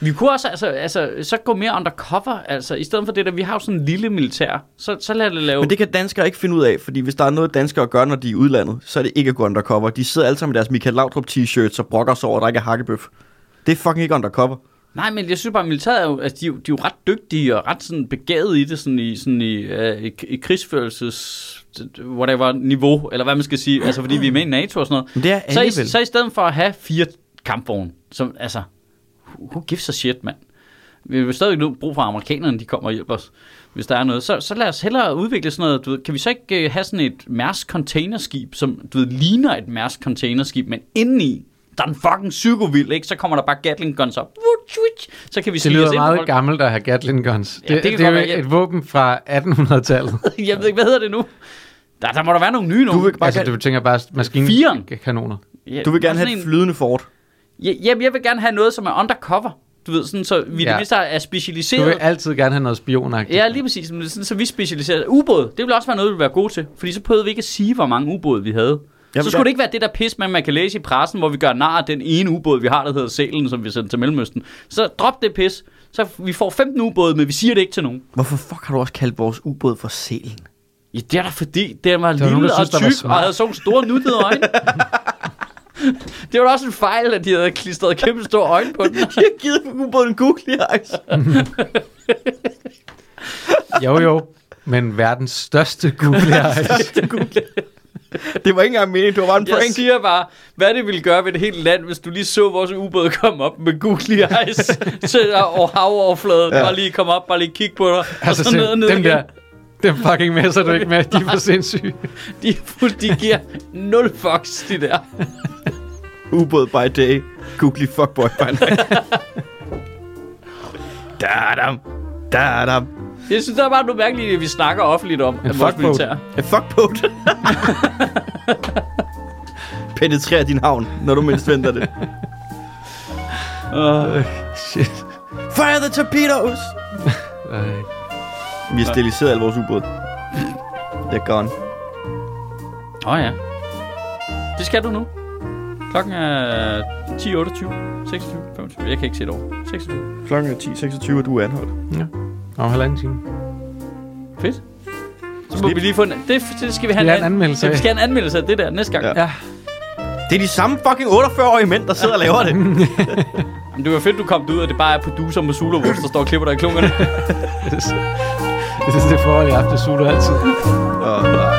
A: Vi kunne også altså, altså, så gå mere undercover, altså, i stedet for det der, vi har jo sådan en lille militær, så, så lad det lave...
D: Men det kan danskere ikke finde ud af, fordi hvis der er noget, danskere gør, når de er i udlandet, så er det ikke at gå undercover. De sidder alle sammen med deres Michael Laudrup t-shirts og brokker sig over, at der ikke er hakkebøf. Det er fucking ikke undercover.
A: Nej, men jeg synes bare, at militæret er jo, altså, de, er jo- de er jo ret dygtige og ret sådan begavet i det, sådan i, sådan i, øh, i, i krigsførelses whatever, niveau, eller hvad man skal sige, altså fordi vi er med i NATO og sådan noget.
D: Men det er
A: Så i,
D: alle vel.
A: så i stedet for at have fire kampvogne, som, altså, who gives a shit, mand? Vi har stadig nu brug for at amerikanerne, de kommer og hjælper os, hvis der er noget. Så, så lad os hellere udvikle sådan noget, du ved, kan vi så ikke øh, have sådan et Mærsk containerskib, som du ved, ligner et Mærsk containerskib, men indeni, der er en fucking psykovild, ikke? Så kommer der bare Gatling guns op. Wut, wut. Så kan vi
C: Det
A: snige os
C: lyder
A: ind på
C: meget
A: folk.
C: gammelt at have Gatling guns.
A: Ja,
C: Ja,
A: det
C: det,
A: kan
C: det, det er
A: godt
C: jo
A: være, ja.
C: et våben fra 1800-tallet.
A: Jeg ved ikke, hvad hedder det nu? Der, der må der være nogle nye nu.
D: Du vil, bare
C: altså,
D: altså,
C: du tænker bare
A: Firen.
C: maskinkanoner.
A: ja,
D: du vil gerne
A: sådan
D: have et flydende fort.
A: Ja, jamen, jeg vil gerne have noget, som er undercover. Du ved, sådan, så vi ja. det
C: Ja.
A: mindste er
C: Du
A: specialiseret.
C: vil altid gerne have noget spionagtigt.
A: Ja, lige præcis. Men Sådan, så vi specialiserede. Ubåd, det ville også være noget, vi ville være gode til. Fordi så prøvede vi ikke at sige, hvor mange ubåde vi havde.
D: Jeg
A: så
D: vil
A: skulle
D: godt-
A: det ikke være det der pis, man, man kan læse i pressen, hvor vi gør nar af den ene ubåd, vi har, der hedder Sælen, som vi sendte til Mellemøsten. Så drop det pis. Så vi får 15 ubåde, men vi siger det ikke til nogen.
D: Hvorfor fuck har du også kaldt vores ubåd for selen?
A: Ja, det er da fordi, den var,
C: var
A: lille
C: nogen, der
A: og
C: syntes, der var
A: tyk, og
C: smart.
A: havde sådan nogle store nuttede øjne. det var da også en fejl, at de havde klistret kæmpe store øjne på den.
D: Jeg har givet ubåden Google Eyes.
C: Jo, jo. Men verdens største Google Eyes.
D: Det var ikke engang meningen, det var bare en
A: Jeg
D: prank.
A: siger bare, hvad det ville gøre ved det hele land, hvis du lige så vores ubåd komme op med googly eyes til over havoverfladen. Ja.
D: Ja.
A: Bare lige komme op, bare lige kigge på dig.
C: altså,
A: og så ned og ned
C: se, dem
A: igen.
C: der, dem fucking messer du ikke med. De er for sindssyge.
A: De, er fuld- de giver nul fucks, de der.
D: Ubåd by day, Google fuckboy by night. da-dam, da-dam.
A: Jeg synes, der er bare noget mærkeligt, i, at vi snakker offentligt om at vores
C: fuckboat.
A: militær.
D: A fuckboat. Penetrer din havn, når du mindst venter det.
C: Øh.
A: Uh,
C: Shit.
D: Fire the torpedoes!
C: Ej.
D: Vi har steriliseret alle vores ubåd. They're gone.
A: Åh oh, ja. Det skal du nu. Klokken er 10.28, 26, 25. Jeg kan ikke se det over. 26.
D: Klokken er 10.26, og du er anholdt.
C: Om halvanden time.
A: Fedt. Så må
D: Snip.
A: vi lige få en... Det, det skal vi have
C: Vi har en anmeldelse
A: Ja, vi
C: af.
A: skal have en anmeldelse af det der næste gang.
D: Ja.
A: Ja.
C: Ja.
D: Det er de samme fucking 48-årige mænd, der sidder og laver det.
A: Jamen, det var fedt, du kom ud, og det bare er producer med Zulawurst, der står og klipper dig i klunkerne.
C: Det er det forhold, jeg har haft det sutter altid.
D: Åh, nej.